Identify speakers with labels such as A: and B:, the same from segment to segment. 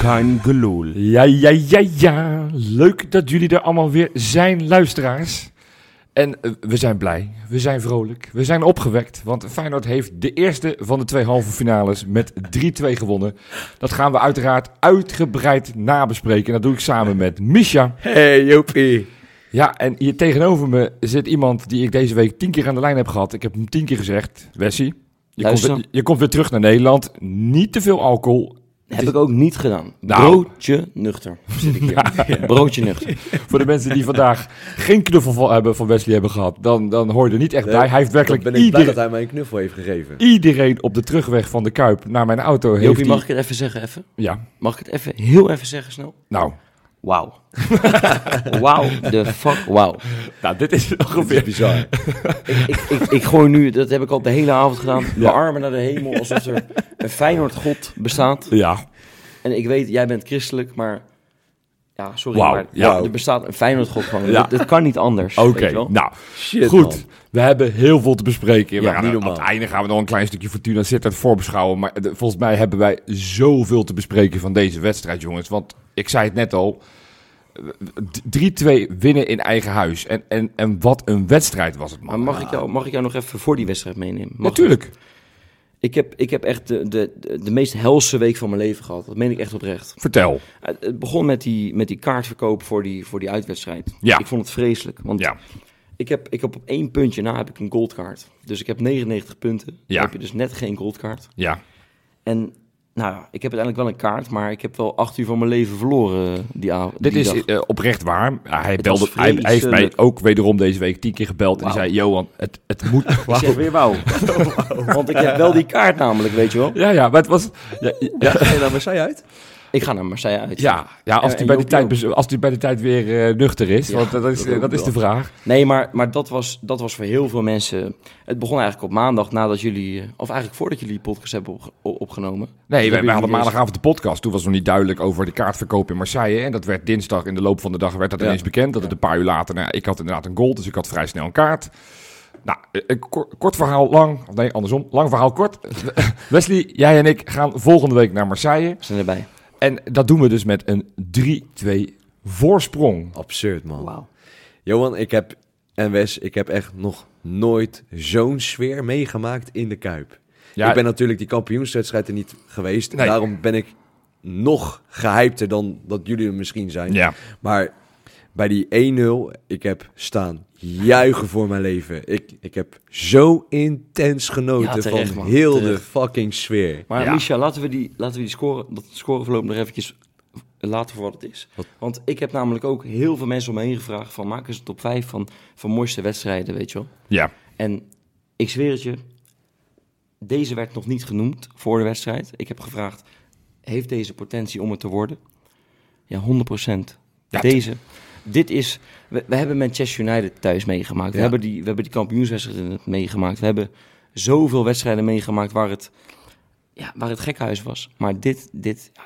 A: kein gelul.
B: Ja, ja, ja, ja. Leuk dat jullie er allemaal weer zijn, luisteraars. En eh, we zijn blij, we zijn vrolijk, we zijn opgewekt. Want Feyenoord heeft de eerste van de twee halve finales met 3-2 gewonnen. Dat gaan we uiteraard uitgebreid nabespreken. En dat doe ik samen met Misha.
C: Hey Jopie.
B: Ja, en hier tegenover me zit iemand die ik deze week tien keer aan de lijn heb gehad. Ik heb hem tien keer gezegd. Wessie, je, komt
C: Luister.
B: weer, je komt weer terug naar Nederland. Niet te veel alcohol.
C: Heb ik ook niet gedaan.
B: Nou.
C: Broodje nuchter zit ik hier. Broodje nuchter.
B: Voor de mensen die vandaag geen knuffel van, hebben, van Wesley hebben gehad, dan, dan hoor je er niet echt
D: Nee,
B: bij. Hij heeft werkelijk
D: Dan ben ik blij dat
B: iedereen,
D: hij mij een knuffel heeft gegeven.
B: iedereen op de terugweg van de Kuip naar mijn auto heeft...
C: Jopie,
B: hij-
C: mag ik het even zeggen? Even?
B: Ja,
C: Mag ik het even heel even zeggen snel?
B: nou.
C: Wauw. Wauw, de fuck wauw.
B: Nou, dit is het
D: Dat is
B: ongeveer.
D: bizar.
C: Ik, ik, ik gooi nu, dat heb ik al de hele avond gedaan, mijn armen naar de hemel alsof er een Feyenoord god bestaat.
B: Ja,
C: En ik weet, jij bent christelijk, maar ja, sorry,
B: Wauw,
C: maar
B: ja.
C: er bestaat een Feyenoord god gewoon.
B: Ja.
C: Dat, dat kan niet anders.
B: oké.
C: weet je wel.
B: Nou,
D: Shit,
B: goed.
D: man.
B: We hebben heel veel te bespreken. We
C: Ja,
B: gaan
D: niet
B: aan-
D: normaal.
B: Aan het einde gaan we nog een klein stukje Fortuna Sittard voorbeschouwen. Maar de- volgens mij hebben wij zoveel te bespreken van deze wedstrijd, jongens. Want ik zei het net al. eh, d- 3-2 winnen in eigen huis. En, en, en wat een wedstrijd was het,
C: Maar
B: man.
C: mag ik, jou, mag ik jou nog even voor die wedstrijd meenemen? Mag dat?
B: Natuurlijk.
C: Ik heb, ik heb echt de, de, de, de meest helse week van mijn leven gehad. Dat meen ik echt oprecht.
B: Vertel.
C: Het het begon met die, met die kaartverkoop voor die, voor die uitwedstrijd.
B: Ja.
C: Ik vond het vreselijk. Want
B: Ja.
C: ik, heb, ik heb op één puntje na heb ik een goldkaart. Dus ik heb 99 punten. Dan
B: Ja.
C: heb je dus net geen goldkaart.
B: Ja.
C: En nou ja, ik heb uiteindelijk wel een kaart. Maar ik heb wel acht uur van mijn leven verloren eh, die avond.
B: Dit
C: die
B: is
C: dag.
B: eh, oprecht waar. Ja, hij,
C: Het
B: belde,
C: was
B: hij, hij heeft mij
C: vreselijk.
B: ook wederom deze week tien keer gebeld. En
C: Wauw.
B: zei, Johan, het, het moet...
C: Ik zeg weer wauw. Want ik heb wel die kaart namelijk, weet je wel.
B: Ja, ja, maar het was... Ja, ja,
D: Ga nou, je naar Marseille uit?
C: Ik ga naar Marseille uit.
B: ja, ja, als hij
C: En- en
B: bij, die
C: Jopie
B: tijd
C: ook.
B: bez- als die bij de tijd weer eh, nuchter is.
C: Ja,
B: want dat is, eh,
C: dat ook
B: dat is de
C: wel.
B: vraag.
C: Nee, maar, maar dat, was, dat was voor heel veel mensen. Het begon eigenlijk op maandag nadat jullie. eh, Of eigenlijk voordat jullie die podcast hebben opge- o- opgenomen.
B: Nee, wij, wij
C: hebben
B: hadden
C: jullie
B: maandagavond de podcast. Toen was nog niet duidelijk over de kaartverkoop in Marseille. En dat werd dinsdag in de loop van de dag werd dat
D: Ja.
B: ineens bekend. Dat het een paar uur later... Nou, ik had inderdaad een goal, dus ik had vrij snel een kaart. Nou, eh, eh, ko- kort verhaal lang... Of nee, andersom. Lang verhaal kort. Wesley, jij en ik gaan volgende week naar Marseille.
C: eerst- zijn erbij.
B: En dat doen we dus met een 3-2 voorsprong.
D: Absurd, man.
C: Wauw.
D: Johan, ik heb, en Wes, ik heb echt nog nooit zo'n sfeer meegemaakt in de Kuip.
B: Ja,
D: Ik ben natuurlijk die kampioenswedstrijd er niet geweest.
B: Nee.
D: Daarom ben ik nog gehypter dan dat jullie er misschien zijn.
B: ja.
D: Maar bij die 1-0, ik heb staan juichen voor mijn leven. Ik, ik heb zo intens genoten
C: Ja, terecht,
D: van
C: man.
D: heel de
C: Terecht.
D: fucking sfeer.
C: Maar
B: Ja.
C: Misha, laten we die, laten we die score, dat scoreverloop nog eventjes laten voor wat het is.
D: Wat?
C: Want ik heb namelijk ook heel veel mensen om me heen gevraagd: van maak eens een top 5 van, van mooiste wedstrijden, weet je wel.
B: ja.
C: En ik zweer het je, deze werd nog niet genoemd voor de wedstrijd. Ik heb gevraagd, heeft deze potentie om het te worden? Ja, 100
B: Ja,
C: Deze. Dit is, we, we hebben Manchester United thuis meegemaakt. We,
D: Ja.
C: hebben die, we hebben die kampioenswedstrijden meegemaakt. We hebben zoveel wedstrijden meegemaakt waar het, ja, waar het gekhuis was. Maar dit, dit ja,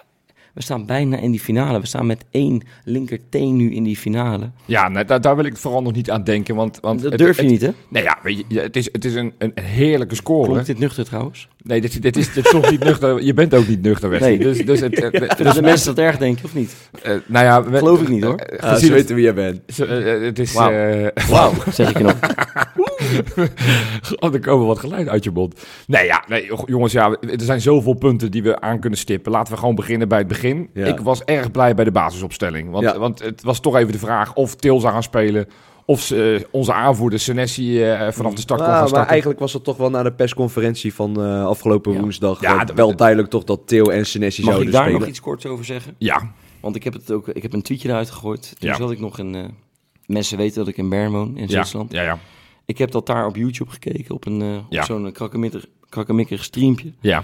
C: we staan bijna in die finale. We staan met één linkerteen nu in die finale.
B: Ja, nou, daar, daar wil ik vooral nog niet aan denken. Want, want
C: Dat
B: het-
C: durf je
B: het- Oh,
C: niet, hè?
B: Nee, ja, weet je, ja, het is, het is een, een heerlijke score.
C: Klopt dit nuchter trouwens?
B: Nee, dit, dit is dit is toch niet nuchter. Je bent ook niet nuchter, Wesley.
C: Nee.
B: Dus, dus het, eh,
C: Dat
B: dus,
C: de mensen dat erg denken, of niet?
B: eh, nou ja, we-
C: Geloof ik niet, hoor.
B: eh,
D: Ah,
B: gezien
D: ze
B: het,
D: weten wie jij bent.
B: ze- eh, eh, het is...
C: Wauw.
B: eh,
C: Wauw, zeg ik je nog.
B: Oh, er komen wat geluid uit je mond. Nee, ja, nee, joh, jongens, ja, er zijn zoveel punten die we aan kunnen stippen. Laten we gewoon beginnen bij het begin.
D: Ja.
B: Ik was erg blij bij de basisopstelling. Want,
D: Ja.
B: want het was toch even de vraag of Til zou gaan spelen... of ze, eh, onze aanvoerder Senesi eh, vanaf de start kon
D: Ah,
B: gaan
D: maar
B: starten.
D: eigenlijk was het toch wel na de persconferentie van eh, afgelopen
C: Ja.
D: woensdag
B: Ja,
D: eh,
B: dat-
D: wel duidelijk toch dat Theo en Senesi
C: Mag ik
D: zouden
C: daar
D: spelen.
C: nog iets korts over zeggen?
B: Ja,
C: Want ik heb, het ook, ik heb een tweetje eruit gegooid. Toen
B: Ja.
C: zat ik nog in... eh, mensen weten dat ik in Bern woon, in
B: ja,
C: Zwitserland.
B: ja, ja,
C: Ik heb dat daar op YouTube gekeken, op, een, eh, op
B: Ja.
C: zo'n krakkemikker- krakkemikkig streampje.
B: ja.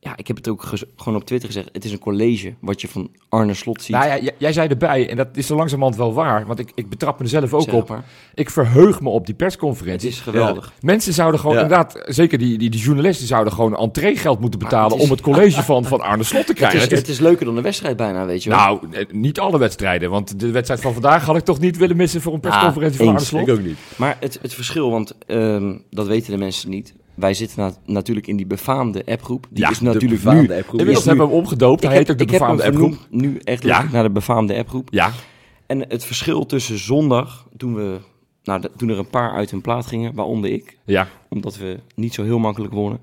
C: Ja, ik heb het ook gez- gewoon op Twitter gezegd. Het is een college wat je van Arne Slot ziet.
B: Nou ja, j- jij zei erbij, en dat is zo langzamerhand wel waar... want ik, ik betrap mezelf ook
C: zeg
B: op.
C: maar.
B: Ik verheug me op die
C: Het
B: persconferentie.
C: is geweldig.
B: Mensen zouden gewoon,
D: Ja.
B: inderdaad, zeker die, die, die journalisten zouden gewoon entreegeld moeten betalen
C: het is-
B: om het college van, van Arne Slot te
C: Het,
B: krijgen.
C: is, het is leuker dan een wedstrijd bijna, weet je wel.
B: Nou, eh, niet alle wedstrijden, want de wedstrijd van vandaag had ik toch niet willen missen voor een persconferentie
C: Ah,
B: van Arne
C: eens.
B: Slot.
D: Ik ook niet.
C: Maar het, het verschil, want ehm, dat weten de mensen niet. wij zitten na- natuurlijk in die befaamde appgroep. Die
B: Ja,
C: is
D: De
C: natuurlijk
D: befaamde
C: nu...
D: appgroep.
B: Inmiddels
C: nu-
B: hebben we hem omgedoopt. Hij heet ook de
C: ik heb hem
B: befaamde appgroep.
C: vernoemd nu echt
B: Ja.
C: naar de befaamde appgroep.
B: Ja,
C: En het verschil tussen zondag, toen, we, nou, de- toen er een paar uit hun plaat gingen, waaronder ik,
B: ja.
C: omdat we niet zo heel makkelijk wonnen.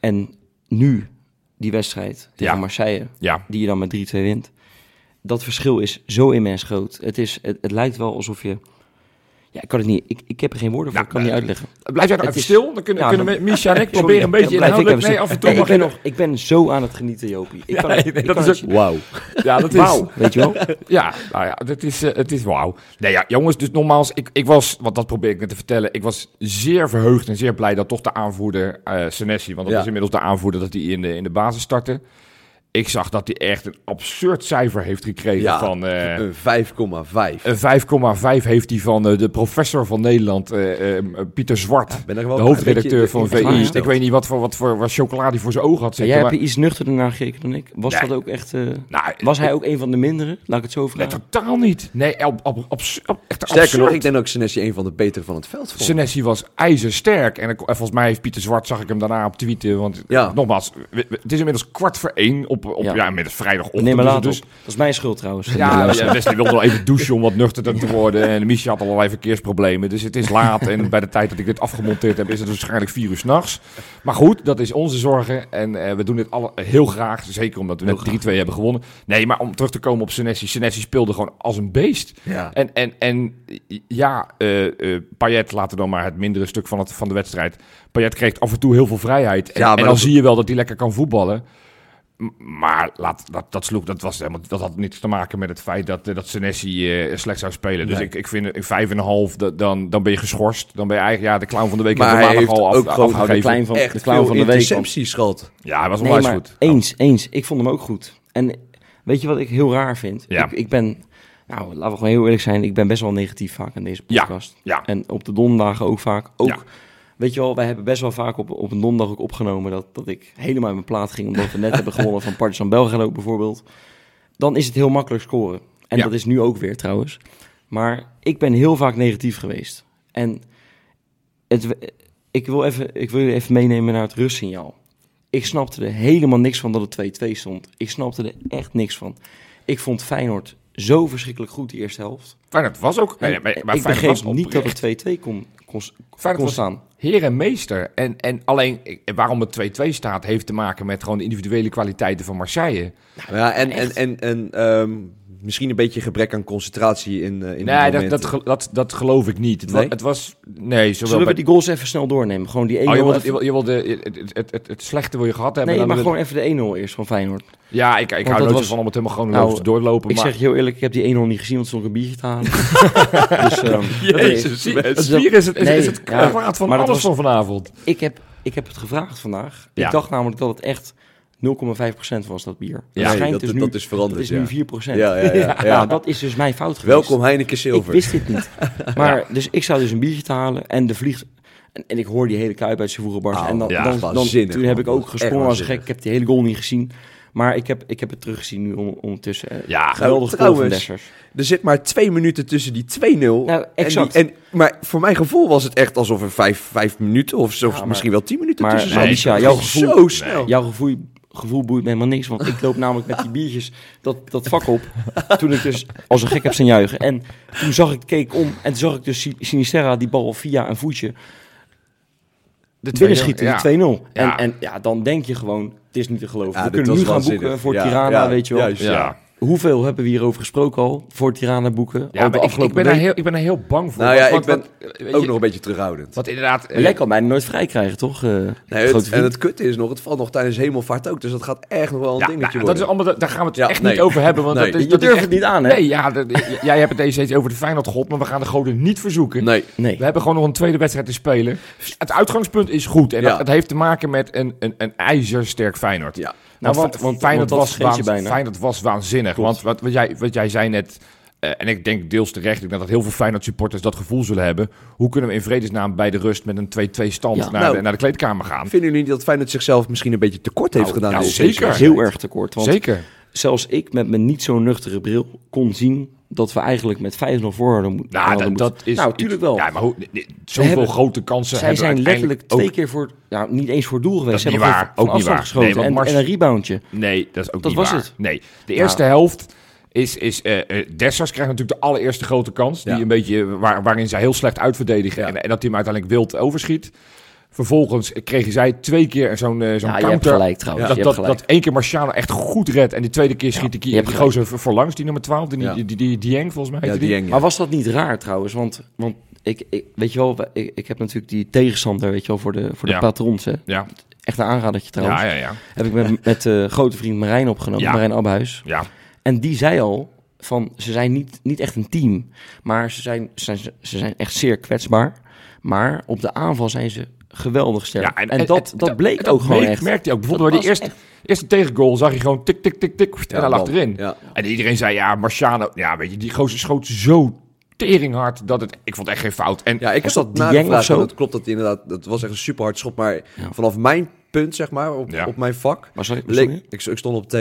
C: En nu die wedstrijd tegen
B: Ja.
C: Marseille,
B: Ja,
C: die je dan met 3-2 wint. Dat verschil is zo immens groot. Het, is, het, het lijkt wel alsof je... Ja, ik kan het niet... Ik, ik heb er geen woorden voor.
B: Nou,
C: ik kan het niet uitleggen.
B: blijf jij nou
C: Het
B: even
C: is-
B: stil. Dan kunnen,
C: Ja,
B: kunnen
C: dan-
B: we- Misha en ik
C: Sorry,
B: proberen een
C: dan
B: beetje
C: blijf ik even
B: inhoudelijk. Nee,
C: zitten.
B: af en toe
C: Nee, ik,
B: mag
C: ben
B: je nog.
C: nog, ik ben zo aan het genieten, Jopie. Ik kan, het-
B: nee,
C: ik
B: dat
C: kan
B: is
C: het
B: ook-
C: je-
D: Wauw.
B: Ja, dat is.
C: Wauw, weet je wel?
B: Ja, nou ja, dat is, eh, het is wauw. Nee, ja, jongens, dus nogmaals, ik, ik was, want dat probeer ik net te vertellen, ik was zeer verheugd en zeer blij dat toch de aanvoerder, eh Senesi, want dat
D: Ja.
B: is inmiddels de aanvoerder, dat hij in de, in de basis startte. Ik zag dat hij echt een absurd cijfer heeft gekregen
D: Ja.
B: van... eh,
D: Een 5,5.
C: Eh,
B: een 5,5 heeft hij van eh, de professor van Nederland, eh, eh, Pieter Zwart.
D: ben er
B: De
D: wel
B: hoofdredacteur
D: een
B: van
D: beetje in
B: VI.
D: teleurgesteld.
B: Ik weet niet wat voor, wat voor wat chocolade hij voor zijn ogen had
C: Ja,
B: zitten.
C: jij hebt
B: maar-
C: er iets nuchterder naar gekeken dan ik. Was
B: Nee.
C: dat ook echt... eh,
B: nou,
C: was hij ook een van de mindere? Laat ik het zo
B: Nee,
C: vragen.
B: totaal niet. Nee, ab, ab, abs- ab- echt
D: Sterker nog,
B: absurd.
D: ik denk ook Senesi een van de betere van het veld vond.
B: Senesi was ijzersterk. En, ik- en volgens mij heeft Pieter Zwart, zag ik hem daarna op tweeten. Want
D: Ja.
B: nogmaals, we- we- het is inmiddels kwart voor één op, op ja.
C: Ja.
B: inmiddels
C: We
B: vrijdagochtend.
C: nemen
B: dus
C: laat
B: het is-
C: op. Dat is mijn schuld trouwens.
B: Ja, ja, Wesley wilde wel even douchen om wat nuchterder te worden. En Michel had allerlei verkeersproblemen. Dus het is laat. En bij de tijd dat ik dit afgemonteerd heb, is het waarschijnlijk vier uur s'nachts. Maar goed, dat is onze zorgen. En eh, we doen dit alle, heel graag. Zeker omdat we
C: Heel
B: net 3-2 hebben gewonnen. Nee, maar om terug te komen op Senesi. Senesi speelde gewoon als een beest.
D: Ja.
B: En, en, en ja, eh eh Payet, laten we dan maar het mindere stuk van, het, van de wedstrijd. Payet kreeg af en toe heel veel vrijheid. En,
D: Ja, maar
B: en dan
D: dat-
B: zie je wel dat hij lekker kan voetballen. M- Maar laat, dat, dat sloeg, dat, was, helemaal- dat had niets te maken met het feit dat, eh, dat Senesi eh, slecht zou spelen. Dus
D: Nee.
B: ik, ik vind eh, vijf en een half, dat- dan, dan ben je geschorst. Dan ben je eigenlijk ja, de clown van de week.
D: Maar
B: hebben we
D: hij
B: maandag
D: heeft
B: al af-
D: ook gewoon
B: afgegeven.
C: de klein van, de
D: Echt
C: clown
D: veel
C: van de week. want-
D: intercepties gehad.
B: Ja, hij was
C: Nee,
B: onwijs
C: maar
B: goed.
C: eens, eens. Ik vond hem ook goed. En weet je wat ik heel raar vind?
B: Ja.
C: Ik, ik ben, nou, laten we gewoon heel eerlijk zijn. Ik ben best wel negatief vaak in deze
B: Ja,
C: podcast.
B: ja.
C: En op de donderdagen ook vaak. Ook,
B: Ja.
C: weet je wel, wij hebben best wel vaak op, op een donderdag ook opgenomen dat, dat ik helemaal in mijn plaat ging. Omdat we net hebben gewonnen van Partizan Belgrado bijvoorbeeld. Dan is het heel makkelijk scoren. En
B: Ja.
C: dat is nu ook weer trouwens. Maar ik ben heel vaak negatief geweest. En het, ik, wil even, ik wil jullie even meenemen naar het rustsignaal. Ik snapte er helemaal niks van dat het 2-2 stond. Ik snapte er echt niks van. Ik vond Feyenoord zo verschrikkelijk goed die eerste helft.
B: Feyenoord was ook...
C: En
B: Nee, maar, maar
C: ik
B: Feyenoord
C: begreep
B: was
C: niet dat
B: oprecht
C: het 2-2 kon, kon,
B: Feyenoord
C: kon
B: was-
C: staan.
B: Heer en meester. En, en alleen eh, waarom het 2-2 staat, heeft te maken met gewoon de individuele kwaliteiten van Marseille.
D: Ja, en, en, en, en ehm, misschien een beetje gebrek aan concentratie in, eh, in die
B: nee, dat,
D: momenten.
B: dat, ge- dat, dat geloof ik niet. Het, wa-
D: Nee?
B: het was. Nee, zowel
C: Zullen
B: bij-
C: we die goals even snel doornemen? Gewoon die 1-0.
B: Oh, je wilde,
C: even-
B: je wil- je wilde- het, het, het, het, het slechte wil je gehad hebben.
C: nee,
B: dan
C: maar
B: wil-
C: gewoon even de 1-0 eerst van Feyenoord.
B: Ja, ik, ik hou
C: dat
B: nooit
C: was-
B: van om het helemaal gewoon
C: Nou,
B: te doorlopen.
C: Ik
B: maar...
C: zeg je heel eerlijk, ik heb die 1-0 niet gezien, want er stond ik een biertje te halen. dus, ehm,
B: Jezus,
C: nee.
B: het
C: Dus dat-
B: spier is het, is,
C: nee,
B: is het
C: ja,
B: kwaad van
C: maar dat
B: alles van vanavond.
C: Ik heb, ik heb het gevraagd vandaag.
B: Ja.
C: Ik dacht namelijk dat het echt 0,5% was, dat bier. Dat
B: Ja,
D: Nee,
C: schijnt
D: dat,
C: dus
D: dat
C: nu,
D: is veranderd.
C: dat is
D: ja.
C: nu 4%.
D: Ja, ja, ja, ja.
C: Nou, dat is dus mijn fout geweest.
D: Welkom Heineken
C: Ik
D: Silver.
C: wist dit niet. Maar dus ik zou dus een biertje te halen en de vlieg... En, en ik hoor die hele kuip uit zijn voerenbarst.
D: Oh,
C: en dan,
B: ja,
C: dan, dan,
D: waanzinnig,
C: toen heb ik
D: man.
C: ook
D: Echt
C: gesprongen als een gek.
D: waanzinnig.
C: Ik heb die hele goal niet gezien. Maar ik heb, ik heb het teruggezien nu on- ondertussen. Eh,
B: Ja,
C: Geweldig goal
D: trouwens.
C: van Dessers.
D: Er zit maar twee minuten tussen die 2-0. en
C: Nou, exact.
D: die- en- maar voor mijn gevoel was het echt alsof er vijf, vijf minuten of zo,
C: Ja, maar-
D: misschien wel tien minuten
C: maar-
D: tussen
C: maar
D: zaten.
C: Misha,
D: Het
C: jouw
D: ging Zo
C: gevoel-
D: snel.
B: Oh.
C: Jouw gevoel, gevoel boeit me helemaal niks. Want ik loop namelijk met die biertjes dat, dat vak op. Toen ik dus als een gek heb zijn juichen. En toen zag ik, keek om. En toen zag ik dus Sin- Sinisterra die bal via een voetje
B: De
C: binnen schieten.
B: ja.
C: de 2-0.
B: Ja.
C: En, en ja, dan denk je gewoon, het is niet te geloven.
D: Ja,
C: We
D: dit
C: kunnen nu
D: was
C: gaan boeken
D: waanzinnig.
C: voor
D: Ja,
C: Tirana,
D: ja,
C: weet je wel.
D: juist.
B: Ja.
D: Ja.
C: Hoeveel hebben we hierover gesproken al? Voor Tirana boeken.
B: Ja,
C: al de
B: maar ik, ik,
C: afgelopen
B: ben daar
C: week.
B: heel, ik ben daar heel bang voor.
D: Nou ja,
B: want-
D: ik ben
B: want- want- weet
D: Ook
B: je-
D: nog een beetje terughoudend.
B: Want inderdaad... eh,
C: Maar jij kan mij nooit vrij krijgen, toch? eh,
D: Nee, het-
C: grote
D: en
C: vriend?
D: het kutte is nog, het valt nog tijdens hemelvaart ook. Dus dat gaat echt nog wel een
B: ja,
D: dingetje
B: nou, dat
D: worden.
B: is allemaal, daar gaan we het
D: Ja,
B: echt
D: nee.
B: niet over hebben. Want
D: Nee.
B: dat is,
C: je
B: dat is
C: durft
B: echt
C: het niet aan, hè?
B: Nee, ja, dat- j- jij hebt het deze steeds over de Feyenoord god, maar we gaan de goden niet verzoeken.
D: Nee,
C: nee.
B: We hebben gewoon nog een tweede wedstrijd te spelen. Het uitgangspunt is goed en
D: Ja.
B: dat, het heeft te maken met een, een, een ijzersterk Feyenoord.
D: ja.
C: Nou,
B: want, want
C: fa- want-
B: Feyenoord,
C: want dat
B: was
C: vergeet je
B: waanz-
C: bijna.
B: Feyenoord was waanzinnig.
C: Klopt.
B: Want wat, wat, jij, wat jij zei net, eh, en ik denk deels terecht, ik denk dat heel veel Feyenoord supporters dat gevoel zullen hebben. Hoe kunnen we in vredesnaam bij de rust met een 2-2 stand
C: Ja.
B: naar,
D: Nou,
B: de, naar de kleedkamer gaan?
D: Vinden jullie niet dat Feyenoord zichzelf misschien een beetje tekort heeft
B: Nou,
D: gedaan?
B: ja,
D: in deze
B: zeker.
D: wedstrijd?
C: Heel erg tekort. Want
B: Zeker.
C: zelfs ik met mijn niet zo nuchtere bril kon zien dat we eigenlijk met 5-0 voor hadden moeten.
B: Nou,
C: hadden
B: dat,
C: moeten-
B: dat is...
C: Nou, tuurlijk
B: iets-
C: wel.
B: Ja, maar hoe, nee, nee, zoveel
C: hebben-
B: grote kansen
C: Zij
B: hebben
C: zijn
B: uiteindelijk
C: letterlijk twee
B: ook-
C: keer voor, nou, niet eens voor doel geweest.
B: Dat is
C: Ze
B: niet
C: hebben
B: waar,
C: gewoon
B: ook niet
C: van
B: waar.
C: afstand
B: Nee,
C: geschoten
B: want
C: en,
B: Mars-
C: en een reboundje.
B: Nee, dat is ook
C: Dat
B: niet
C: was
B: waar.
C: het. Nou.
B: Nee, de eerste helft is... is eh eh, Dessers krijgt natuurlijk de allereerste grote kans.
D: Ja.
B: Die een beetje, eh, waar, waarin zij heel slecht uitverdedigen.
D: Ja.
B: En, en dat hij hem uiteindelijk wild overschiet. Vervolgens kregen zij twee keer zo'n eh, zo'n
C: Ja, je hebt
B: counter.
C: gelijk trouwens.
B: dat,
C: je
B: dat,
C: hebt gelijk.
B: dat één keer Marciano echt goed redt. En die tweede keer schiet die,
C: je hebt
B: die
C: gelijk.
B: gozer voor langs, die nummer 12. Die,
D: Ja.
B: die, die, die Dieng, volgens mij.
D: Ja,
B: heette
D: die eng.
C: Maar was dat niet raar trouwens? Want, want ik, ik, weet je wel, ik, ik heb natuurlijk die tegenstander, weet je wel, voor de, voor de
B: Ja.
C: patrons. Hè.
B: Ja,
C: Echt een aanradertje trouwens.
B: ja, ja. ja.
C: Heb ik met, met eh, grote vriend Marijn opgenomen,
B: Ja.
C: Marijn Abhuis.
B: ja.
C: En die zei al van ze zijn niet, niet echt een team, maar ze zijn, ze, zijn, ze zijn echt zeer kwetsbaar. Maar op de aanval zijn ze geweldig sterk. en, dat,
B: het-
C: dat bleek
B: het-
C: ook gewoon
B: merk-
C: echt.
B: merkte hij ook. Bijvoorbeeld bij die
C: was
B: eerste, eerste tegengoal zag je gewoon tik, tik, tik, tik. En hij lag erin.
D: Ja.
B: En iedereen zei, ja, Marciano... Ja, weet je, die gozer schoot zo teringhard dat het... Ik vond echt geen fout. En
D: Ja, ik heb dat
C: dat die Yang of
D: nagevraagd.
C: zo?
D: en Dat klopt, dat inderdaad. Dat was echt een super hard schop. Maar vanaf mijn punt, zeg maar, op,
B: Ja.
D: op mijn vak,
C: Maar sorry, sorry.
D: leek, ik, ik stond op T,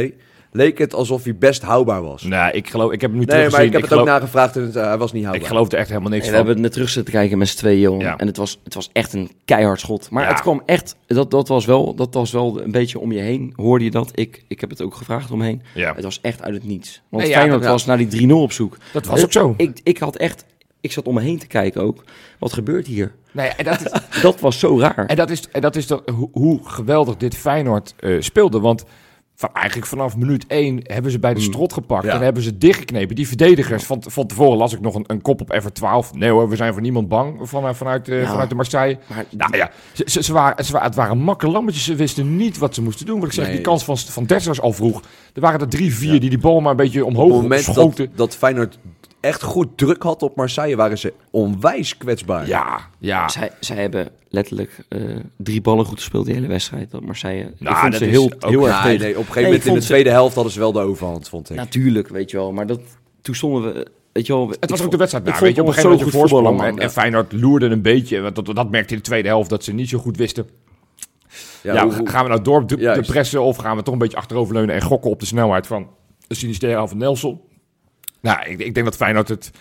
D: leek het alsof hij best houdbaar was. Nee,
B: Nee, nou, ik geloof... Ik heb hem nu
D: maar
B: teruggezien.
D: ik heb het ook
B: geloof,
D: nagevraagd en het, eh, hij was niet
B: ik
D: houdbaar.
B: geloof er echt helemaal niks
C: En we
B: van.
C: hebben het net terug zitten kijken met z'n tweeën, joh.
B: Ja.
C: En het was, het was echt een keihard schot. Maar
B: Ja.
C: het kwam echt, dat, dat, was wel, dat was wel een beetje om je heen. Hoorde je dat? Ik, ik heb het ook gevraagd omheen.
B: Ja.
C: Het was echt uit het niets. Want
B: Nee, ja,
C: Feyenoord
D: dat-
C: was naar die 3-0 op zoek.
B: Dat was ook zo.
C: Ik, ik had echt, ik zat om me heen te kijken ook. Wat gebeurt hier?
B: Nee, en dat is...
C: Dat was zo raar.
B: En dat is, en dat is dat, hoe, hoe geweldig dit Feyenoord eh, speelde. Want van, eigenlijk vanaf minuut 1 hebben ze bij de strot gepakt.
D: Mm. Ja.
B: En hebben ze dichtgeknepen. Die verdedigers. Van, van tevoren las ik nog een, een kop op F12. Nee hoor, we zijn voor niemand bang van, vanuit, eh,
C: Ja.
B: vanuit de Marseille.
C: Maar
B: Nou ja, ze, ze, ze waren, ze waren, het waren makke lammetjes. Ze wisten niet wat ze moesten doen. Wat ik zeg,
D: Nee.
B: die kans van, van Dessers al vroeg. Er waren er drie, vier die die bal maar een beetje
D: Op
B: omhoog
D: het moment dat,
B: schoten.
D: dat Feyenoord echt goed druk had op Marseille, waren ze onwijs kwetsbaar.
B: Ja, ja.
C: Zij, zij hebben letterlijk eh, drie ballen goed gespeeld die hele wedstrijd. Dat Marseille.
B: Nou,
C: ik vond
B: dat
C: ze
B: is
C: heel,
B: ook-
C: heel erg
D: Ja,
C: tegen.
D: nee, op een gegeven
C: Nee,
D: moment
C: ik
D: in
C: vond
D: de
C: ze-
D: tweede helft hadden ze wel de overhand, vond ik.
C: Natuurlijk, weet je wel. Maar dat, toen stonden we. Weet je wel,
B: Het was ook de wedstrijd
C: Ik
B: daar.
C: vond
B: Weet je, op een gegeven moment
C: ons zo
B: een
C: goed
B: voorsprong.
C: voetballen,
B: En,
C: man.
B: en Feyenoord loerde een beetje. Want dat, dat merkte in de tweede helft dat ze niet zo goed wisten. Ja,
D: hoe- hoe-
B: gaan we nou door op de,
D: Juist.
B: de pressen of gaan we toch een beetje achteroverleunen en gokken op de snelheid van Sinistera van Nelson? Nou, ik, ik denk dat Feyenoord het...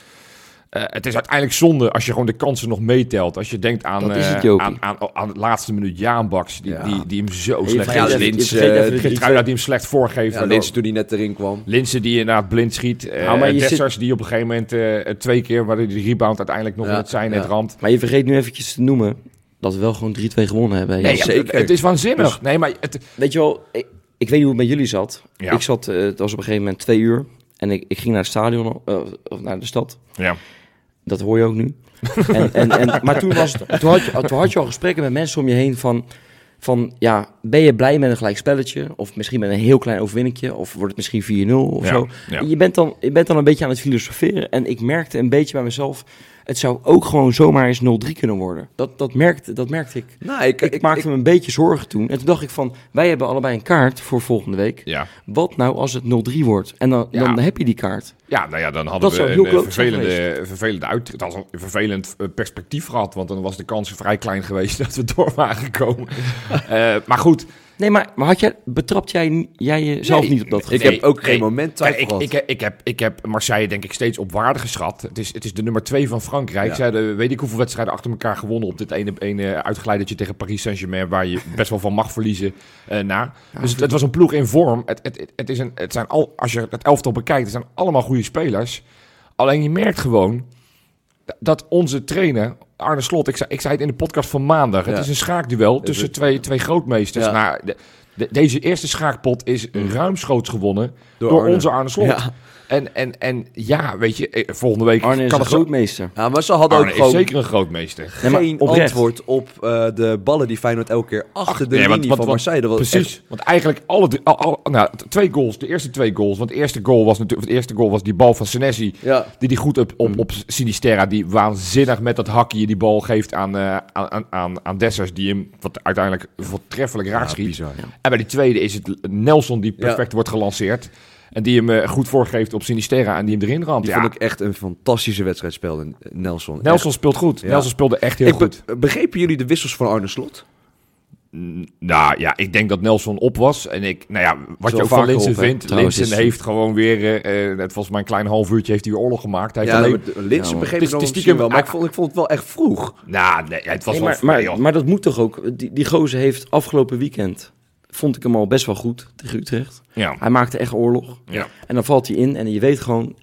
B: eh, het is uiteindelijk zonde als je gewoon de kansen nog meetelt. Als je denkt aan,
C: Dat is het,
B: eh,
C: Jopie.
B: aan, aan, aan het laatste minuut Jaan Baks, die,
D: Ja.
B: die, die hem zo
C: Je
B: slecht
C: vergeet
D: Ja,
B: geeft.
C: even- je
D: Linz,
C: vergeet
D: eh,
C: even de
D: Linz-
B: Geertruida die hem slecht voorgeeft.
D: ja,
B: En
D: Linz
B: dan-
D: toen hij net erin kwam.
B: Linsen die inderdaad blind schiet. eh
C: Nou, maar je
B: Dessers die op een gegeven moment eh, twee keer, waar die rebound uiteindelijk nog
D: Ja,
B: in het zijn net
D: ja.
B: ramt.
C: Maar je vergeet nu eventjes te noemen dat we wel gewoon 3-2 gewonnen hebben.
B: Nee,
C: Ja. Dus-
B: ja,
D: zeker.
B: Het is waanzinnig. nee, maar het,
C: Weet je wel, ik, ik weet niet hoe het met jullie zat.
B: Ja.
C: Ik zat, eh, het was op een gegeven moment twee uur. En ik, ik ging naar het stadion, eh, of naar de stad.
B: ja.
C: Dat hoor je ook nu. En, en, en, maar toen, was het, toen, had je, toen had je al gesprekken met mensen om je heen van... Van ja, ben je blij met een gelijk spelletje? Of misschien met een heel klein overwinningje? Of wordt het misschien 4-0 of
B: Ja,
C: zo?
B: ja.
C: Je, bent dan, je bent dan een beetje aan het filosoferen. En ik merkte een beetje bij mezelf... Het zou ook gewoon zomaar eens 0-3 kunnen worden. Dat, dat, merkte, dat merkte ik.
D: Nou, ik,
C: Ik, maakte me een beetje zorgen toen. En toen dacht ik van, wij hebben allebei een kaart voor volgende week.
B: Ja.
C: Wat nou als het 0-3 wordt? En dan,
B: Ja.
C: dan heb je die kaart.
B: ja, nou ja, dan hadden
C: Dat
B: we
C: zou heel
B: een eh,
C: kloot zijn
B: vervelende, vervelende uit, het was een vervelend eh, perspectief gehad. Want dan was de kans vrij klein geweest dat we door waren gekomen. Eh, maar goed,
C: Nee, maar, maar had jij, betrapt jij, jij jezelf
B: Nee,
C: niet op dat
D: Ik
B: Nee,
D: heb ook geen
B: nee.
D: moment
B: Kijk,
D: twijfel
B: ik,
D: gehad.
B: ik, ik, heb, ik heb Marseille denk ik steeds op waarde geschat. Het is, het is de nummer twee van Frankrijk.
D: Ja.
B: Ze hadden weet ik hoeveel wedstrijden achter elkaar gewonnen op dit ene, ene uitgeleidertje tegen Paris Saint-Germain, waar je best wel van mag verliezen eh, na. Dus het, het was een ploeg in vorm. Het, het, het- het, is een, het zijn al, als je het elftal bekijkt, het zijn allemaal goede spelers. Alleen je merkt gewoon dat onze trainer, Arne Slot, ik zei, ik zei het in de podcast van maandag, het
D: Ja.
B: is een schaakduel tussen twee, twee grootmeesters.
D: Ja.
B: Nou, de- de- deze eerste schaakpot is ruimschoots gewonnen door,
D: Door Arne.
B: onze Arne Slot.
D: Ja.
B: En, en, en ja, weet je, eh, volgende week
C: Arne is
B: kan
C: een
B: het zo-
C: grootmeester.
D: Ja, maar ze hadden
B: Arne
D: ook
B: is
D: gewoon
B: Ah, zeker een grootmeester.
C: Nee, maar
D: geen
C: oprecht.
D: antwoord op eh, de ballen die Feyenoord elke keer achter de linie
B: Nee, want- want-
D: van
B: want-
D: Marseille. Dat was
B: Precies,
D: echt-
B: want eigenlijk alle, drie- al, al- nou, t- twee goals, de eerste twee goals. Want de eerste goal was natuurlijk, de eerste goal was die bal van Senesi.
D: ja.
B: Die die goed op, op, op Sinisterra, die waanzinnig met dat hakje die bal geeft aan, eh, aan- aan, aan, aan Dessers. Die hem wat uiteindelijk voortreffelijk raak
D: ja,
B: schiet.
D: bizar.
B: En bij die tweede is het Nelson die perfect wordt gelanceerd. En die hem eh, goed voorgeeft op Sinisterra en die hem erin ramt.
D: Die
B: Ja,
D: vond ik echt een fantastische wedstrijd speelde, Nelson.
B: Nelson speelt goed.
D: Ja.
B: Nelson speelde echt heel
D: Echt. Ik
B: goed.
D: be- begrepen jullie de wissels van Arne Slot?
B: Mm, Nou ja, ik denk dat Nelson op was. En ik, nou ja, wat
C: wel
B: je ook van
C: vaker
B: Linsen
C: op, hè?
B: vindt.
C: Trouwens,
B: Linsen
C: is-
B: heeft gewoon weer, eh, eh, het was maar een klein half uurtje, heeft hij weer oorlog gemaakt. Hij heeft
D: Ja,
B: alleen...
D: maar Linse
C: Ja,
D: begreep
C: man.
B: Het is-
D: het
B: het is
D: allemaal
B: stiekem-
D: misschien wel, maar ik vond, ik vond het wel echt vroeg.
B: Nou, nee, het was
C: Nee,
B: wel...
C: maar, maar, maar dat moet toch ook? Die, die gozer heeft afgelopen weekend, vond ik hem al best wel goed tegen Utrecht.
B: ja,
C: Hij maakte echt oorlog.
B: ja.
C: En dan valt hij in en je weet gewoon...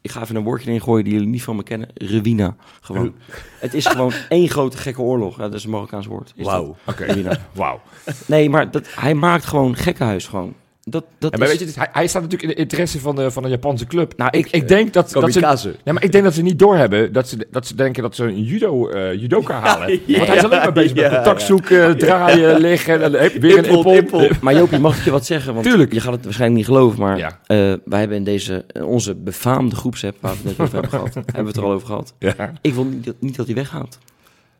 C: Ik ga even een woordje erin gooien die jullie niet van me kennen. Ruïna. Gewoon. Het is gewoon één grote gekke oorlog. Ja, dat is een Marokkaans woord. Is dat.
D: Wauw.
B: oké.
C: Ruïna.
B: Wauw.
C: Nee, maar dat, hij maakt gewoon gekkenhuis gewoon. Dat, dat
B: En maar
C: is-
B: weet je, dit- hij, hij staat natuurlijk in de interesse van de, van de Japanse club.
C: Nou, ik-
B: ik denk dat, dat ze...
D: Kamikaze.
B: Nee, maar ik denk dat ze niet doorhebben dat ze, dat ze denken dat ze een judo, eh, judoka halen. Want hij is alleen maar bezig met
D: ja,
B: contact zoeken, draaien, liggen. En, dan heb je weer
D: Ippel,
B: een
D: ippel.
B: ippel.
C: Maar Jopie, mag ik je wat zeggen? Want
B: Tuurlijk.
C: je gaat het waarschijnlijk niet geloven, maar
B: Ja.
C: eh, wij hebben in deze, in onze befaamde groepsapp, waar we het net over hebben gehad, hebben we het er al over gehad.
B: Ja.
C: Ik wil niet dat, niet dat hij weggaat.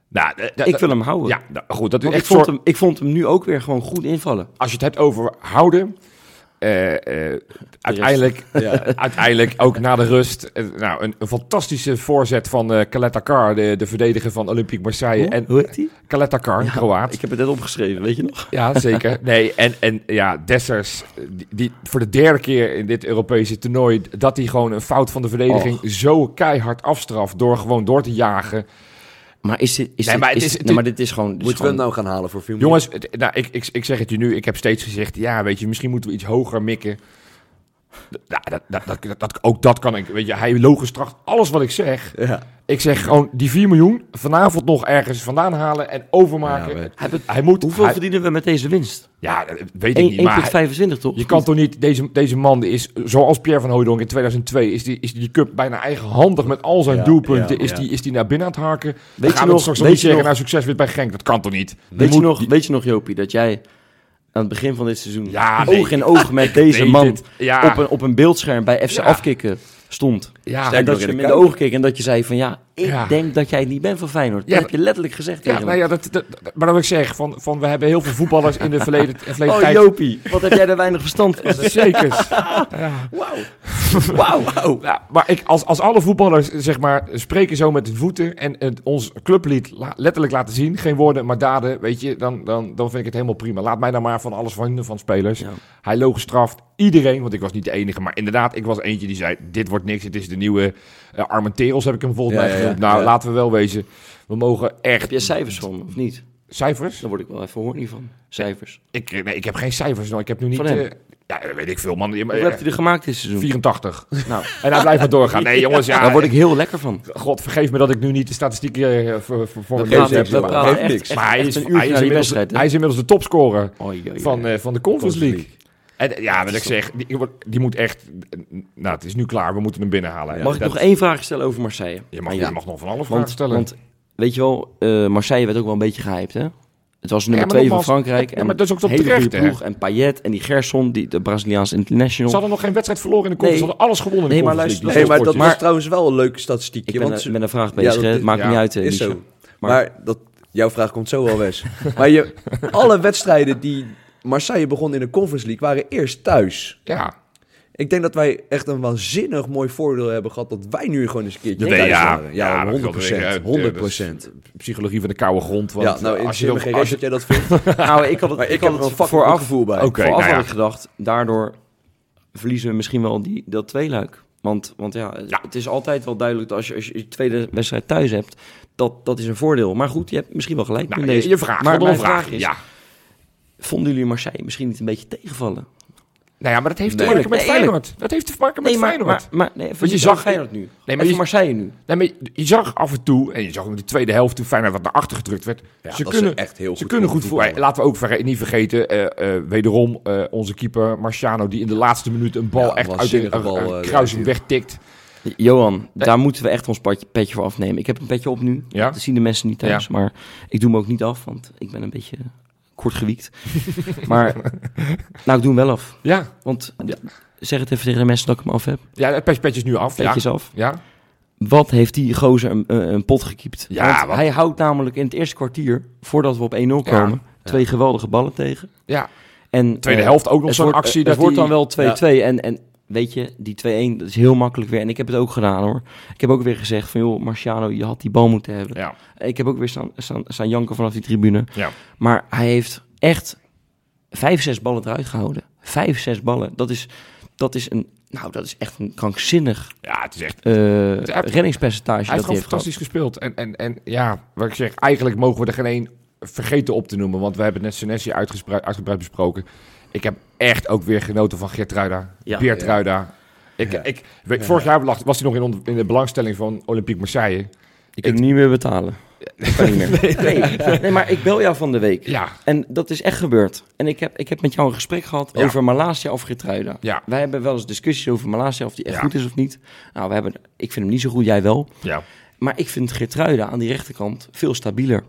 B: Nou, eh, dat-
C: Ik wil hem houden.
B: Ja, nou, goed. Dat is
C: Want
B: echt
C: ik, vond
B: soort-
C: hem, ik vond hem nu ook weer gewoon goed invallen.
B: als je het hebt over houden. eh, eh, uiteindelijk,
D: Ja.
B: uiteindelijk, ook na de rust, eh, nou, een, een fantastische voorzet van eh Caleta Car, de, de verdediger van Olympique Marseille.
C: Hoe,
B: En
C: hoe heet hij?
B: Caleta Car,
C: Ja,
B: Kroaat.
C: Ik heb het net opgeschreven, weet je nog?
B: Ja, zeker. Nee, en, en ja, Dessers, eh, die, die voor de derde keer in dit Europese toernooi, dat hij gewoon een fout van de verdediging zo keihard afstraft door gewoon door te jagen.
C: Maar is dit... Is
B: Nee,
C: dit-
B: maar het
C: is,
B: is-
C: dit-
B: het
C: nee,
B: is-
C: maar dit is gewoon... dit is
D: Moeten we
C: gewoon-
D: hem nou gaan halen voor veel
B: Jongens, het- nou, ik, ik, ik zeg het je nu, ik heb steeds gezegd, ja, weet je, misschien moeten we iets hoger mikken. D- Ja, dat, dat, dat, dat, dat- ook dat kan ik. Weet je, hij logisch tracht alles wat ik zeg.
D: Ja.
B: Ik zeg gewoon die 4 miljoen vanavond nog ergens vandaan halen en overmaken.
D: Ja, maar-
C: Hij heeft-
B: hij moet.
C: Hoeveel
B: hij-
C: verdienen we met deze winst?
B: ja, dat weet ik niet. Maar hij-
C: 1,25 toch?
B: je kan toch niet. Deze, deze man die is, zoals Pierre van Hooydonk in 2002, is die, is die cup bijna eigenhandig met al zijn
D: Ja,
B: doelpunten.
D: ja,
B: is,
D: ja.
B: Die, is die naar binnen aan het harken.
C: je
B: Weet gaan we
C: nog-
B: straks nog
C: weet
B: niet
C: je
B: zeggen,
C: nog-
B: nou succes weer bij Genk. Dat kan toch niet?
C: Weet je,
B: moet-
C: nog, weet je nog, Jopie, dat jij aan het begin van dit seizoen
B: Ja, nee,
C: oog in oog met deze
B: weet
C: man
B: het. Ja.
C: op, een, op een beeldscherm bij FC
B: Ja.
C: Afkikken stond.
B: Ja,
C: Ah. en dat
D: nog
C: je
D: in
C: hem
D: de
C: in de
D: kuip.
C: ogen keek en dat je zei van ja, ik
B: Ja.
C: denk dat jij het niet bent van Feyenoord.
B: Ja.
C: Dat heb je letterlijk
B: Ja,
C: gezegd tegen
B: nou
C: hem.
B: ja, dat, dat, dat- maar dat wil ik zeggen, van, van we hebben heel veel voetballers in de verleden, in verleden
C: Oh
B: tijd.
C: Jopie, wat heb jij daar weinig verstand van.
B: Zeker.
C: Wauw.
B: Ja, maar ik, als, als alle voetballers zeg maar, spreken zo met hun voeten en het, ons clublied la- letterlijk laten zien, geen woorden maar daden, weet je, dan, dan, dan vind ik het helemaal prima. Laat mij dan maar van alles van, van spelers.
C: Ja.
B: Hij loog straft iedereen, want ik was niet de enige, maar inderdaad, ik was eentje die zei: Dit wordt niks, het is de nieuwe eh Armenteros, heb ik hem volgens
D: Ja,
B: mij
D: ja,
B: genoemd.
D: ja.
B: Nou,
D: Ja.
B: laten we wel wezen, we mogen echt.
C: Heb jij cijfers van of niet?
B: Cijfers?
C: Daar word ik wel even horny van. Cijfers.
B: Ik, eh, nee, ik heb geen cijfers, nou, ik heb nu niet.
C: Van hem?
B: eh, ja, dat weet ik veel, man.
C: Hoeveel heb je er gemaakt dit seizoen?
B: 84.
C: Nou,
B: En hij blijft maar doorgaan. Nee, jongens, ja.
C: daar word ik heel lekker van.
B: God, vergeef me dat ik nu niet de statistieken eh, voor, voor, voor
C: We
B: me lees,
C: praten,
D: praten- we
B: heb,
C: we
B: maar-
D: praten
C: praten
D: echt-
C: echt,
B: Maar hij is,
C: een
B: hij, is
C: uur naar die
B: inmiddels,
C: wedstrijd.
B: hij is inmiddels de topscorer van, eh, van de Conference League. En eh, ja, wat ik zeg, die, die moet echt... Nou, het is nu klaar, we moeten hem binnenhalen.
C: Mag ik
B: Dat-
C: nog één vraag stellen over Marseille?
B: je, mag,
C: Aan jou.
B: je mag nog van alles vragen
C: Want,
B: stellen.
C: want weet je wel, eh, Marseille werd ook wel een beetje gehyped, hè? Het was nummer
B: maar
C: 2 van
B: nogmaals,
C: Frankrijk.
B: ja,
C: en
B: maar dat is ook
C: een hele
B: terecht,
C: goede
B: hè?
C: ploeg. En Payet en die Gerson, die, de Braziliaanse international.
B: ze hadden nog geen wedstrijd verloren in de conference.
C: Nee.
B: Ze hadden alles gewonnen in de
C: Nee, maar
B: Conference
D: Nee, maar dat
B: League.
D: was trouwens wel een leuke statistiekje.
C: ik ben,
D: want
C: er-
D: ze-
C: met een vraag
D: Ja,
C: bezig,
D: dat
C: hè? Het
D: is-
C: maakt
B: ja,
C: niet uit, eh,
D: is
C: Michel.
D: zo.
C: Maar,
D: Maar, dat, jouw vraag komt zo wel, Wes. maar je, alle wedstrijden die Marseille begon in de Conference League waren eerst thuis.
B: Ja.
D: Ik denk dat wij echt een waanzinnig mooi voordeel hebben gehad dat wij nu gewoon eens een keertje
B: Nee,
D: thuis
B: ja.
D: waren. Ja,
B: Ja, dat
D: 100
B: geldt weer, hè.
D: 100
B: Psychologie van de koude grond. Want eh,
D: Ja, nou,
B: als
D: als
B: je,
D: je me
B: dan-
D: geen
B: als
D: recht
B: je
D: dat jij dat vindt.
C: nou, ik had het,
D: Maar
C: ik
D: ik
C: had
D: heb er een fucking
C: het
D: goed
C: vooraf,
D: gevoel bij.
B: Oké,
C: vooraf
B: nou ja.
C: had ik gedacht, daardoor verliezen we misschien wel die, dat tweeluik. Want, want ja,
B: Ja.
C: het is altijd wel duidelijk dat als je, als je je tweede wedstrijd thuis hebt, dat, dat is een voordeel. Maar goed, je hebt misschien wel gelijk
B: nou,
C: in deze.
B: je, je vraagt,
C: maar
B: maar
C: mijn
B: een vraag.
C: is,
B: Ja.
C: vonden jullie Marseille misschien niet een beetje tegenvallen?
B: Nou ja, maar dat heeft te
D: Nee.
B: maken met
C: Nee, eerlijk.
B: Feyenoord. Dat heeft te maken met
C: nee, maar,
B: Feyenoord.
C: maar, maar nee, even
B: Want je
C: niet
B: zag-
C: over Feyenoord nu. Nee, maar
B: maar
C: even
B: je-
C: Marseille nu.
B: Nee, maar je, je zag af en toe, en je zag ook in de tweede helft toen Feyenoord wat naar achter gedrukt werd.
D: Ja,
B: ze
D: dat
B: kunnen,
D: ze echt heel
B: ze
D: goed
B: kunnen goed voor.
D: voetballen.
B: eh, Laten we ook verge- niet vergeten, eh, eh, wederom eh, onze keeper Marciano, die in de laatste minuut een bal
D: Ja,
B: echt uit de
D: waanzinnige
B: een-
D: bal,
B: een
D: eh,
B: kruising
D: eruit
B: wegtikt.
C: Johan, daar moeten we echt ons patje- petje voor afnemen. Ik heb een petje op nu.
B: Ja?
C: Dat zien de mensen niet thuis. Maar ik doe hem ook niet af, want ik ben een beetje kort gewiekt. maar nou, ik doe hem wel af.
B: Ja,
C: Want zeg het even tegen de mensen dat ik hem af heb.
B: ja het petje, petje is nu af. Ja.
C: Petjes af.
B: Ja.
C: Wat heeft die gozer een, eh, een een pot gekiept?
B: Ja,
C: Want
B: wat-
C: hij houdt namelijk in het eerste kwartier, voordat we op 1-0 komen, twee geweldige ballen tegen.
B: ja,
C: En,
B: tweede
C: eh,
B: helft ook nog
C: het
B: zo'n
C: wordt-
B: actie.
C: Het
B: dat
C: wordt
B: die-
C: dan wel 2-2. En, en weet je, die 2-1, dat is heel makkelijk weer. En ik heb het ook gedaan hoor. Ik heb ook weer gezegd van, joh, Marciano, je had die bal moeten hebben.
B: Ja,
C: Ik heb ook weer staan, staan, staan janken vanaf die tribune.
B: ja.
C: Maar hij heeft echt vijf, zes ballen eruit gehouden. Vijf, zes ballen. Dat is, dat is, een, nou, dat is echt een krankzinnig
B: Ja, het is echt...
C: eh,
B: heeft-
C: reddingspercentage.
B: Hij heeft
C: dat hij
B: gewoon
C: heeft gehad.
B: fantastisch gespeeld. En, en, en ja, wat ik zeg, eigenlijk mogen we er geen één vergeten op te noemen. Want we hebben net Senesi uitgesprei- uitgebreid besproken. Ik heb echt ook weer genoten van Geertruida.
C: Ja.
B: Beertruida. Ik,
D: Ja.
B: ik, weet, vorig jaar lag- was hij nog in, on- in de belangstelling van Olympique Marseille.
C: Ik kan hem niet meer betalen. Dat kan niet meer. Nee. nee, maar ik bel jou van de week.
B: Ja,
C: En dat is echt gebeurd. En ik heb, ik heb met jou een gesprek gehad
B: Ja.
C: over Malasia of Gertruida.
B: Ja.
C: Wij hebben wel eens discussies over Malasia, of die echt
B: Ja.
C: goed is of niet. Nou, we hebben, ik vind hem niet zo goed, jij wel.
B: ja.
C: Maar ik vind Gertruida aan die rechterkant veel stabieler.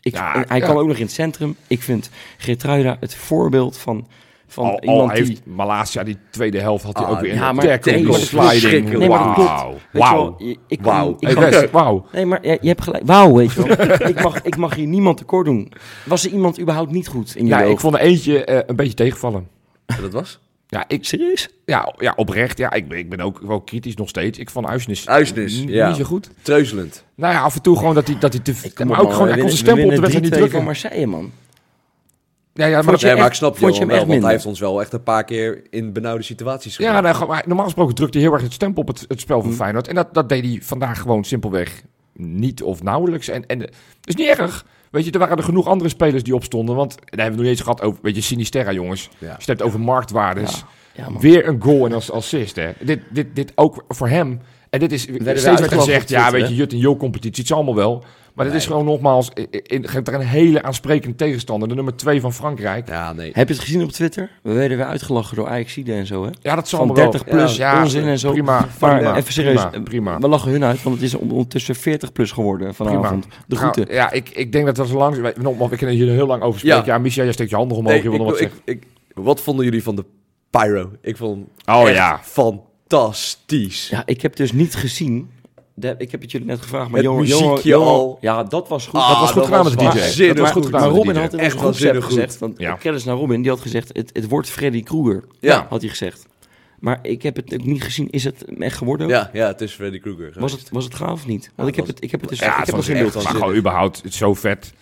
C: Ik,
B: Ja,
C: en hij
B: ja.
C: kan ook nog in het centrum. Ik vind Gertruida het voorbeeld van, van
B: Al, al
C: iemand die...
B: heeft Malasia die tweede helft had hij
D: Ah,
B: ook weer in
C: ja,
B: de
C: maar
B: tackle,
C: dat
B: een
C: klopt.
B: sliding.
D: Nee,
C: maar dat klopt.
B: Wauw.
C: Weet je wel,
B: Wauw.
C: je- ik kan-
D: Wauw.
C: ik
B: Hey,
C: kan-
B: Wes, Wauw.
C: Nee, maar je, je hebt gelijk. Wauw, weet je wel. ik, mag, ik mag hier niemand tekort doen. Was er iemand überhaupt niet goed in
B: Ja,
C: jullie
B: ik
C: ogen?
B: vond er eentje eh, een beetje tegenvallen.
D: Dat was?
B: Ja, ik,
C: Serieus?
B: ja, ja, oprecht. Ja, ik ben, ik ben ook wel kritisch nog steeds. Ik vond Uisnes
D: Uisnes,
B: n-
D: ja.
B: niet zo goed.
D: Treuzelend.
B: Nou ja, af en toe gewoon dat hij, dat hij te...
C: Kom
B: maar
C: op,
B: ook gewoon,
C: man,
B: hij kon
C: we
B: zijn stempel op de
C: winnen- we
B: wedstrijd niet
C: winnen 3-2 van
B: drukken.
C: Marseille, man.
B: Ja, ja, maar,
C: Vond
B: dat-
C: je
D: Nee, maar
C: echt-
D: ik snap
C: vond
D: Johan
C: je hem
D: wel,
C: echt
D: want hij
C: minder?
D: heeft ons wel echt een paar keer in benauwde situaties
B: ja,
D: gebracht.
B: nou, gewoon- maar normaal gesproken drukte hij heel erg het stempel op het, het spel
C: Mhm.
B: van Feyenoord. En dat, dat deed hij vandaag gewoon simpelweg niet of nauwelijks. En, en eh, is niet erg. Weet je, er waren er genoeg andere spelers die opstonden. Want daar hebben we het nog niet eens gehad over, weet je, Sinisterra jongens.
D: Ja.
B: Als je het hebt over marktwaardes.
C: Ja, man.
B: Weer een goal en als assist, hè. Dit, dit, dit ook voor hem. En dit is
C: we
B: steeds werd
C: uitgelachen
B: gezegd,
C: op Twitter,
B: ja, weet
C: hè?
B: je, Jut en Jo competitie, het is allemaal wel. Maar dit is gewoon nogmaals, in, in, geeft er een hele aansprekende tegenstander, de nummer 2 van Frankrijk.
D: Ja, nee.
C: Heb je het gezien op Twitter? We werden weer uitgelachen door Ajaxide en zo, hè?
B: Ja, dat zal
C: Van
B: allemaal
C: 30
B: wel.
C: plus, onzin en zo.
B: Prima,
C: Maar
B: prima,
C: even serieus,
B: prima, prima.
C: we lachen hun uit, want het is on- ondertussen 40 plus geworden vanavond. De
B: Nou,
C: groeten.
B: ja, ik, ik denk dat we zo lang... wij- Nogmaals, ik kan hier heel lang over spreken. Ja,
D: Ja.
B: Michel, jij steekt je handen omhoog.
D: Nee,
B: je
D: ik,
B: wilde wat
D: ik,
B: zeggen.
D: ik- wat vonden jullie van de pyro? Ik vond hem
B: Oh
C: Ah,
D: echt
B: ja.
D: fantastisch.
C: Ja, ik heb dus niet gezien. De- ik heb het jullie net gevraagd, maar
D: Het
C: Johan,
D: muziekje
C: Johan- Johan-
D: al.
C: Ja, dat was goed.
D: Ah,
B: dat was goed gedaan met de DJ.
D: waanzinnig
B: Dat was goed
D: goed.
B: gedaan
C: maar
B: met de
C: Robin
B: DJ.
C: had in onze
D: Echt waanzinnig
C: groepsapp
D: goed.
C: gezegd, want
B: Ja.
C: ik kennis naar Robin, die had gezegd, het, het wordt Freddy Krueger,
D: Ja.
C: had hij gezegd. Maar ik heb het ook niet gezien, is het hem echt geworden? ook?
D: Ja, ja, het is Freddy Krueger.
C: Was het, was het gaaf of niet? Want
D: Ja,
C: ik, heb
D: was-
C: het, ik heb het dus
B: Ja,
C: ik
B: het
C: heb
B: was
C: nog
B: echt,
C: geen beeld
B: maar
D: gezien.
B: gewoon überhaupt, het is zo vet.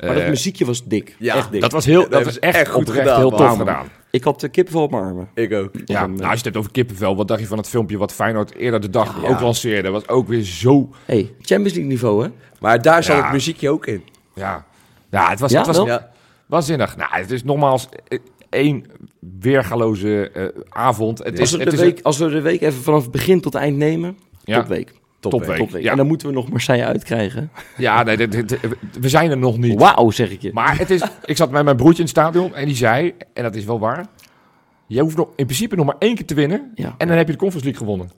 C: Maar dat
B: Eh,
C: muziekje was dik.
D: Ja,
C: echt dik.
B: dat was, heel,
D: dat
B: dat
D: hebben
B: was
D: ze
B: echt
D: echt goed
B: oprecht
D: gedaan,
B: heel tof
D: man.
B: gedaan.
C: Ik had de kippenvel op mijn armen.
D: Ik ook.
B: Ja,
C: Dan,
B: nou,
C: eh,
B: als je het hebt over kippenvel, wat dacht je van het filmpje wat Feyenoord eerder de dag
D: Ja.
B: ook lanceerde? Was ook weer zo...
C: eh, hey, Champions League niveau, hè?
D: Maar daar zat
B: Ja.
D: het muziekje ook in.
B: Ja, ja het was,
C: Ja,
B: het was
C: wel?
D: Ja,
B: waanzinnig. Nou, het is nogmaals eh, één weergaloze eh, avond. Het
C: Als
B: is,
C: we,
B: het
C: de
B: is
C: week, als we de week even vanaf het begin tot het eind nemen,
B: Ja.
C: topweek.
B: Topweek.
C: Topweek.
B: Ja.
C: En dan moeten we nog Marseille uitkrijgen.
B: Ja, nee, dit- dit- we zijn er nog niet.
C: Wauw, zeg ik je.
B: Maar het is, ik zat met mijn broertje in het stadion en die zei, en dat is wel waar, je hoeft nog, in principe nog maar één keer te winnen
C: Ja.
B: en dan heb je de Conference League gewonnen.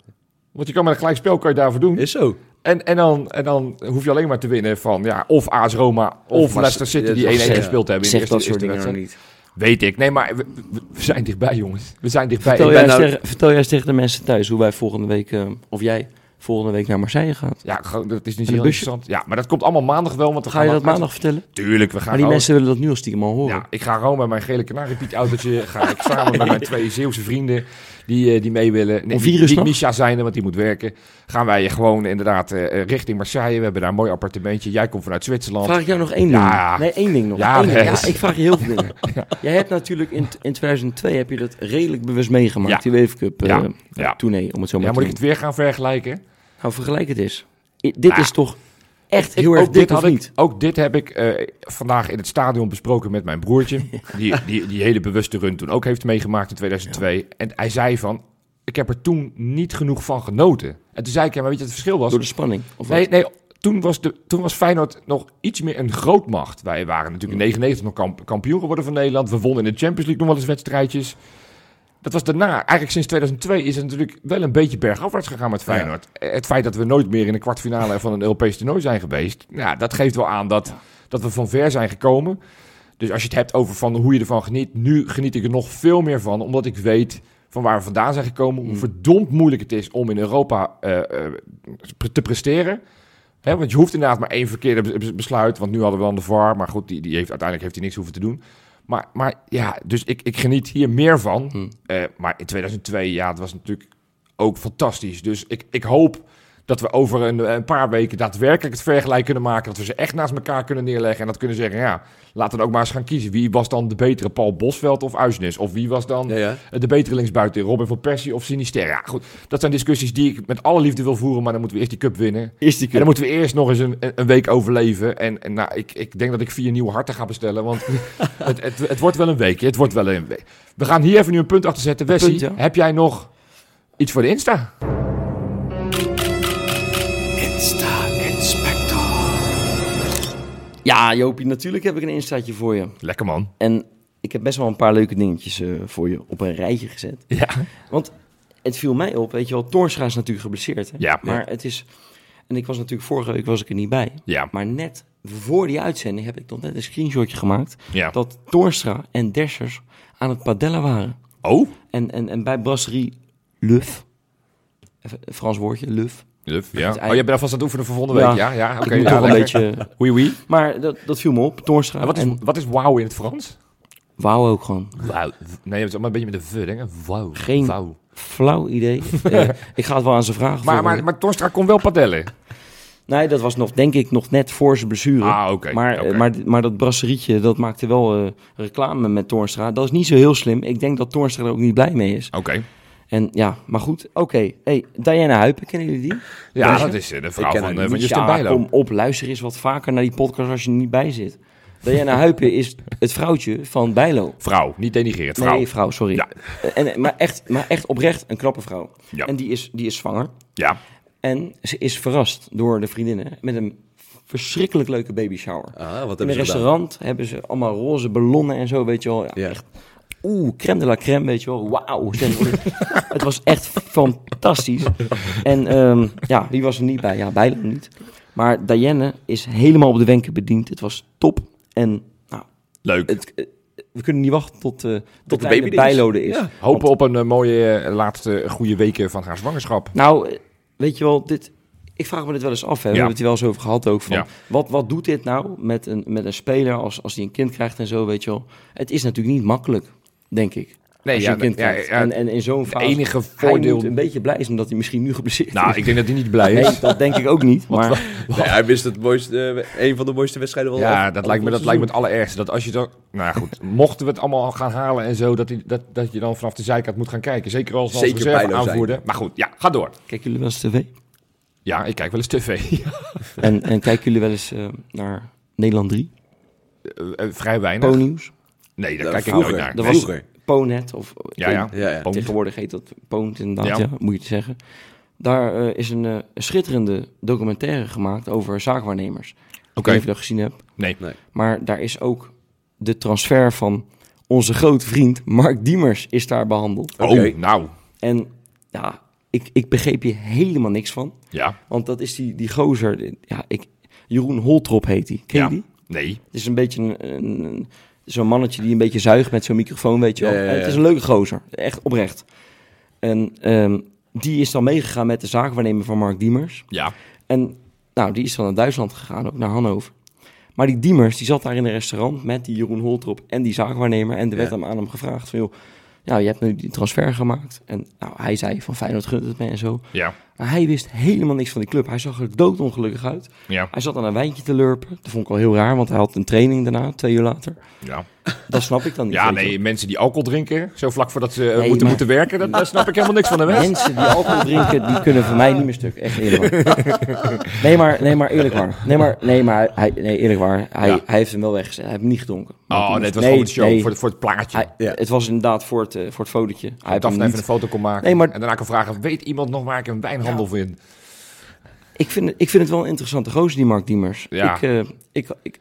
B: Want je kan met een gelijk spel kan je daarvoor doen.
D: is zo.
B: En, en, dan, en dan hoef je alleen maar te winnen van ja, of AS Roma of,
D: Of
B: Leicester City
D: Mas-
B: die 1-1
D: ja, zeg-
B: gespeeld hebben. in de
C: zeg
B: eerste-
C: dat soort
B: eerste
C: dingen nou
B: wedstrijd.
C: niet.
B: Weet ik. Nee, maar we, we- we zijn dichtbij jongens. We zijn dichtbij.
C: Vertel
B: Ik
C: jij,
B: ben
C: eens
D: nou-
C: tegen, vertel jij eens tegen de mensen thuis hoe wij volgende week, eh, of jij volgende week naar Marseille gaat.
B: ja, gewoon, dat is niet
C: de
B: heel
C: busje?
B: interessant. Ja, maar dat komt allemaal maandag wel. Want dan
C: Ga je
B: gaan
C: dat
B: we-
C: maandag vertellen?
B: Tuurlijk, we gaan
C: Maar die
B: gewoon-
C: mensen willen dat nu al stiekem al horen.
B: Nou, Ja, ik ga gewoon met mijn gele kanariepiet-autootje. ga ik samen met mijn twee Zeeuwse vrienden die, eh, die mee willen.
C: Om vier uur
B: die- die
C: s'nachts?
B: Misha zijn er, want die moet werken. Gaan wij gewoon inderdaad eh, richting Marseille. We hebben daar een mooi appartementje. Jij komt vanuit Zwitserland.
C: Vraag ik jou nog één ding?
B: Ja.
C: Nee, één ding nog.
B: Ja,
C: Eén ding.
B: Wes.
C: ja ik vraag je heel veel dingen. Jij hebt natuurlijk in, in 2002 heb je dat redelijk bewust meegemaakt, die UEFA Cup eh
B: Ja, ja.
C: tournee, om het zo maar
B: ja,
C: te
B: moet ik het
C: noemen.
B: weer gaan vergelijken?
C: Nou, vergelijk het eens. I- dit
B: Nou,
C: is toch echt
B: Ik-
C: heel erg
B: ook dit
C: dik,
B: had
C: of
B: ik-
C: niet?
B: ook dit heb ik eh, vandaag in het stadion besproken met mijn broertje. Die, die die hele bewuste run toen ook heeft meegemaakt in 2002. En hij zei van, ik heb er toen niet genoeg van genoten. En toen zei ik, ja, maar weet je wat het verschil was?
C: Door de spanning. Of
B: Nee, nee toen, was de, toen was Feyenoord nog iets meer een grootmacht. Wij waren natuurlijk in 99 nog kamp- kampioen geworden van Nederland. We wonnen in de Champions League nog wel eens wedstrijdjes. Dat was daarna. Eigenlijk sinds 2002 is het natuurlijk wel een beetje bergafwaarts gegaan met Feyenoord. Eh, Het feit dat we nooit meer in de kwartfinale van een Europees toernooi zijn geweest. Ja, dat geeft wel aan dat, dat we van ver zijn gekomen. Dus als je het hebt over van hoe je ervan geniet. Nu geniet ik er nog veel meer van. Omdat ik weet van waar we vandaan zijn gekomen. Hoe verdomd moeilijk het is om in Europa eh, eh, te presteren. Hè, want je hoeft inderdaad maar één verkeerde bes- bes- besluit. Want nu hadden we dan de VAR. Maar goed, die, die heeft, uiteindelijk heeft hij niks hoeven te doen. Maar, maar ja, dus ik, ik geniet hier meer van. Eh, maar in 2002, ja, het was natuurlijk ook fantastisch. Dus ik, ik hoop Dat we over een, een paar weken daadwerkelijk het vergelijk kunnen maken. Dat we ze echt naast elkaar kunnen neerleggen. En dat kunnen zeggen, ja, laten we ook maar eens gaan kiezen. Wie was dan de betere, Paul Bosveld of Uisnes? Of wie was dan
D: Ja, ja.
B: eh, de betere linksbuiten, Robin van Persie of Sinister? Ja, goed. Dat zijn discussies die ik met alle liefde wil voeren. Maar dan moeten we eerst die cup winnen.
C: Is die
B: En dan moeten we eerst nog eens een, een een week overleven. En, en nou, ik, ik denk dat ik vier nieuwe harten ga bestellen. Want het, het, het wordt wel een week. Het wordt wel een week. We gaan hier even nu een punt achter zetten. Wessie,
C: punt, ja.
B: heb jij nog iets voor de Insta?
C: Ja, Jopie, natuurlijk heb ik een instaatje voor je.
B: Lekker man.
C: En ik heb best wel een paar leuke dingetjes eh, voor je op een rijtje gezet.
B: Ja.
C: Want het viel mij op, weet je wel, Torstra is natuurlijk geblesseerd. Hè?
B: Ja.
C: Maar het is... En ik was natuurlijk vorige week was ik er niet bij.
B: Ja.
C: Maar net voor die uitzending heb ik nog net een screenshotje gemaakt...
B: ja.
C: dat Torstra en Dessers aan het padellen waren.
B: Oh.
C: En, en, en bij brasserie Luf. Even een Frans woordje, Luf.
B: Luf, ja.
C: Het ei-
B: Oh, jij bent alvast aan het oefenen voor volgende week. Ja,
C: Ja.
B: ja. Oké,
C: ik moet
B: ja,
C: toch een
B: lekker.
C: beetje...
B: Oui, oui.
C: Maar dat, dat viel me op, Torstra.
B: En wat, is,
C: en
B: wat is wauw in het Frans?
C: wauw ook gewoon.
B: Wauw. Nee, het is allemaal een beetje met een v, denk ik. Wauw.
C: Geen-
B: Wauw.
C: Flauw idee. Eh, ik ga het wel aan ze
B: Maar,
C: vragen. volgende
B: maar, maar Torstra kon wel padellen.
C: week. Nee, dat was nog, denk ik, nog net voor zijn blessure.
B: Ah, oké.
C: maar, eh,
B: oké.
C: maar, maar dat brasserietje, dat maakte wel eh, reclame met Torstra. Dat is niet zo heel slim. Ik denk dat Torstra er ook niet blij mee is.
B: Oké.
C: En ja, maar goed. Oké. Hey, Diana Huipen, kennen jullie die?
B: Ja,
D: Deze?
B: dat is eh, de vrouw
D: ken
B: van,
D: haar
B: eh, van
C: Niet,
B: Justin
C: ja,
B: Bijlo.
C: Kom op, luister eens wat vaker naar die podcast als je er niet bij zit. Diana Huipen is het vrouwtje van Bijlo.
B: Vrouw, niet denigrerend. Vrouw.
C: Nee, vrouw, sorry. Eh,
B: Ja.
C: En, maar, echt, maar echt oprecht een knappe vrouw.
B: Ja.
C: En die is, die is zwanger.
B: Ja.
C: En ze is verrast door de vriendinnen met een verschrikkelijk leuke baby shower.
D: Ah, wat
C: In een
D: hebben ze gedaan?
C: restaurant hebben ze allemaal roze ballonnen en zo, weet je wel. Ja,
D: Ja.
C: Echt, oeh, crème de la crème, weet je wel. Wauw. het was echt fantastisch. En ehm, ja, wie was er niet bij? Ja, bijna niet. Maar Diane is helemaal op de wenken bediend. Het was top. En nou,
B: Leuk.
C: het, eh, we kunnen niet wachten tot, eh tot
D: de
C: de baby
D: baby er is.
C: bijlode is.
D: Ja.
B: Hopen op een eh, mooie eh, laatste goede weken van haar zwangerschap.
C: Nou, eh, weet je wel, dit, ik vraag me dit wel eens af. Hè? We
B: Ja.
C: hebben het hier wel eens over gehad ook. Van,
B: Ja.
C: wat, wat doet dit nou met een, met een speler als, als die een kind krijgt en zo, weet je wel. Het is natuurlijk niet makkelijk, denk ik.
B: Nee,
C: als je
B: ja,
C: een kind
B: ja,
C: krijgt.
B: ja,
C: en, en in zo'n
B: Het
C: fase...
B: enige
C: Hij
B: voordeel...
C: moet een beetje blij zijn omdat hij misschien nu geblesseerd
B: Nou,
C: is.
B: ik denk dat hij niet blij is.
C: Nee, dat denk ik ook niet. Maar
D: Nee, hij wist het mooiste, eh, een van de mooiste wedstrijden wel
B: Ja,
D: af-
B: dat lijkt, me, dat lijkt me het allerergste. Dat als je dan... Nou ja, goed, mochten we het allemaal gaan halen en zo, dat, die, dat, dat je dan vanaf de zijkant moet gaan kijken. Zeker als we als
D: Zeker
B: reserve
D: Bijlo zijn.
B: aanvoerder. Maar goed, ja, ga door.
C: kijken jullie wel eens tv?
B: Ja, ik kijk wel eens tv.
C: En, en kijken jullie wel eens eh, naar Nederland 3?
B: Eh, eh, Vrij weinig.
C: Ponyus?
B: Nee, daar
D: Nou,
B: kijk
D: vroeger.
B: ik nooit
C: Dat
B: naar. Nee.
C: was-
D: Vroeger.
C: Ponet? Of,
B: Ja, ja.
D: Ja, ja.
B: Poont.
C: Tegenwoordig heet dat Poont inderdaad,
B: Ja.
C: ja. moet je het zeggen. Daar eh, is een eh, een schitterende documentaire gemaakt over zaakwaarnemers. Ik weet
B: Oké,
C: niet of je dat gezien hebt.
B: nee.
C: Maar daar is ook de transfer van onze grote vriend Mark Diemers is daar behandeld.
B: Oh,
D: Oké.
B: nou.
C: En ja, ik, ik begreep hier helemaal niks van.
B: Ja.
C: Want dat is die, die gozer, die- ja, ik, Jeroen Holtrop heet die. Ken je
B: ja.
C: die?
B: Nee.
C: Het is een beetje een, een- een- zo'n mannetje die een beetje zuigt met zo'n microfoon, weet je wel.
D: Ja, ja, ja.
C: En Het is een leuke gozer, echt oprecht. En ehm, die is dan meegegaan met de zaakwaarnemer van Mark Diemers.
B: Ja.
C: En nou, die is dan naar Duitsland gegaan, ook naar Hannover. Maar die Diemers, die zat daar in een restaurant met die Jeroen Holtrop en die zaakwaarnemer. En er werd
D: Ja.
C: hem aan hem gevraagd van, joh, nou, je hebt nu die transfer gemaakt. En nou, hij zei van Feyenoord gunt het mij en zo.
B: Ja.
C: Maar hij wist helemaal niks van die club. Hij zag er doodongelukkig uit.
B: Ja.
C: Hij zat aan een wijntje te lurpen. Dat vond ik al heel raar, want hij had een training daarna, twee uur later.
B: Ja.
C: Dat snap ik dan niet.
B: Ja,
C: weet je
B: nee, mensen die alcohol drinken, zo vlak voordat ze eh,
C: Nee,
B: moeten,
C: maar-
B: moeten werken, dat, daar snap ik helemaal niks van. Hè?
C: wel.
B: Wes?
C: Mensen die alcohol drinken, die kunnen voor mij niet meer stuk. Echt eerlijk waar. Nee, maar, nee, maar eerlijk waar. Nee, maar, nee, maar hij, nee, eerlijk waar. Hij,
B: Ja.
C: hij heeft hem wel weggezet. Hij heeft hem niet gedonken.
B: Oh, nee, het was gewoon voor de show, voor, het- voor het plaatje.
C: Hij-
D: Ja.
C: Het was inderdaad voor het, eh, voor het fotootje. Hij heeft
B: dat
C: hem
B: Daphne even
C: niet...
B: een foto kon maken.
C: Nee, maar-
B: En daarna kan vragen, weet iemand nog waar ik een wijnhandel vind?
C: ik, vind, het- ik vind het wel een interessante gozer, die Mark Diemers.
B: Ja.
C: Ik, eh, ik, ik,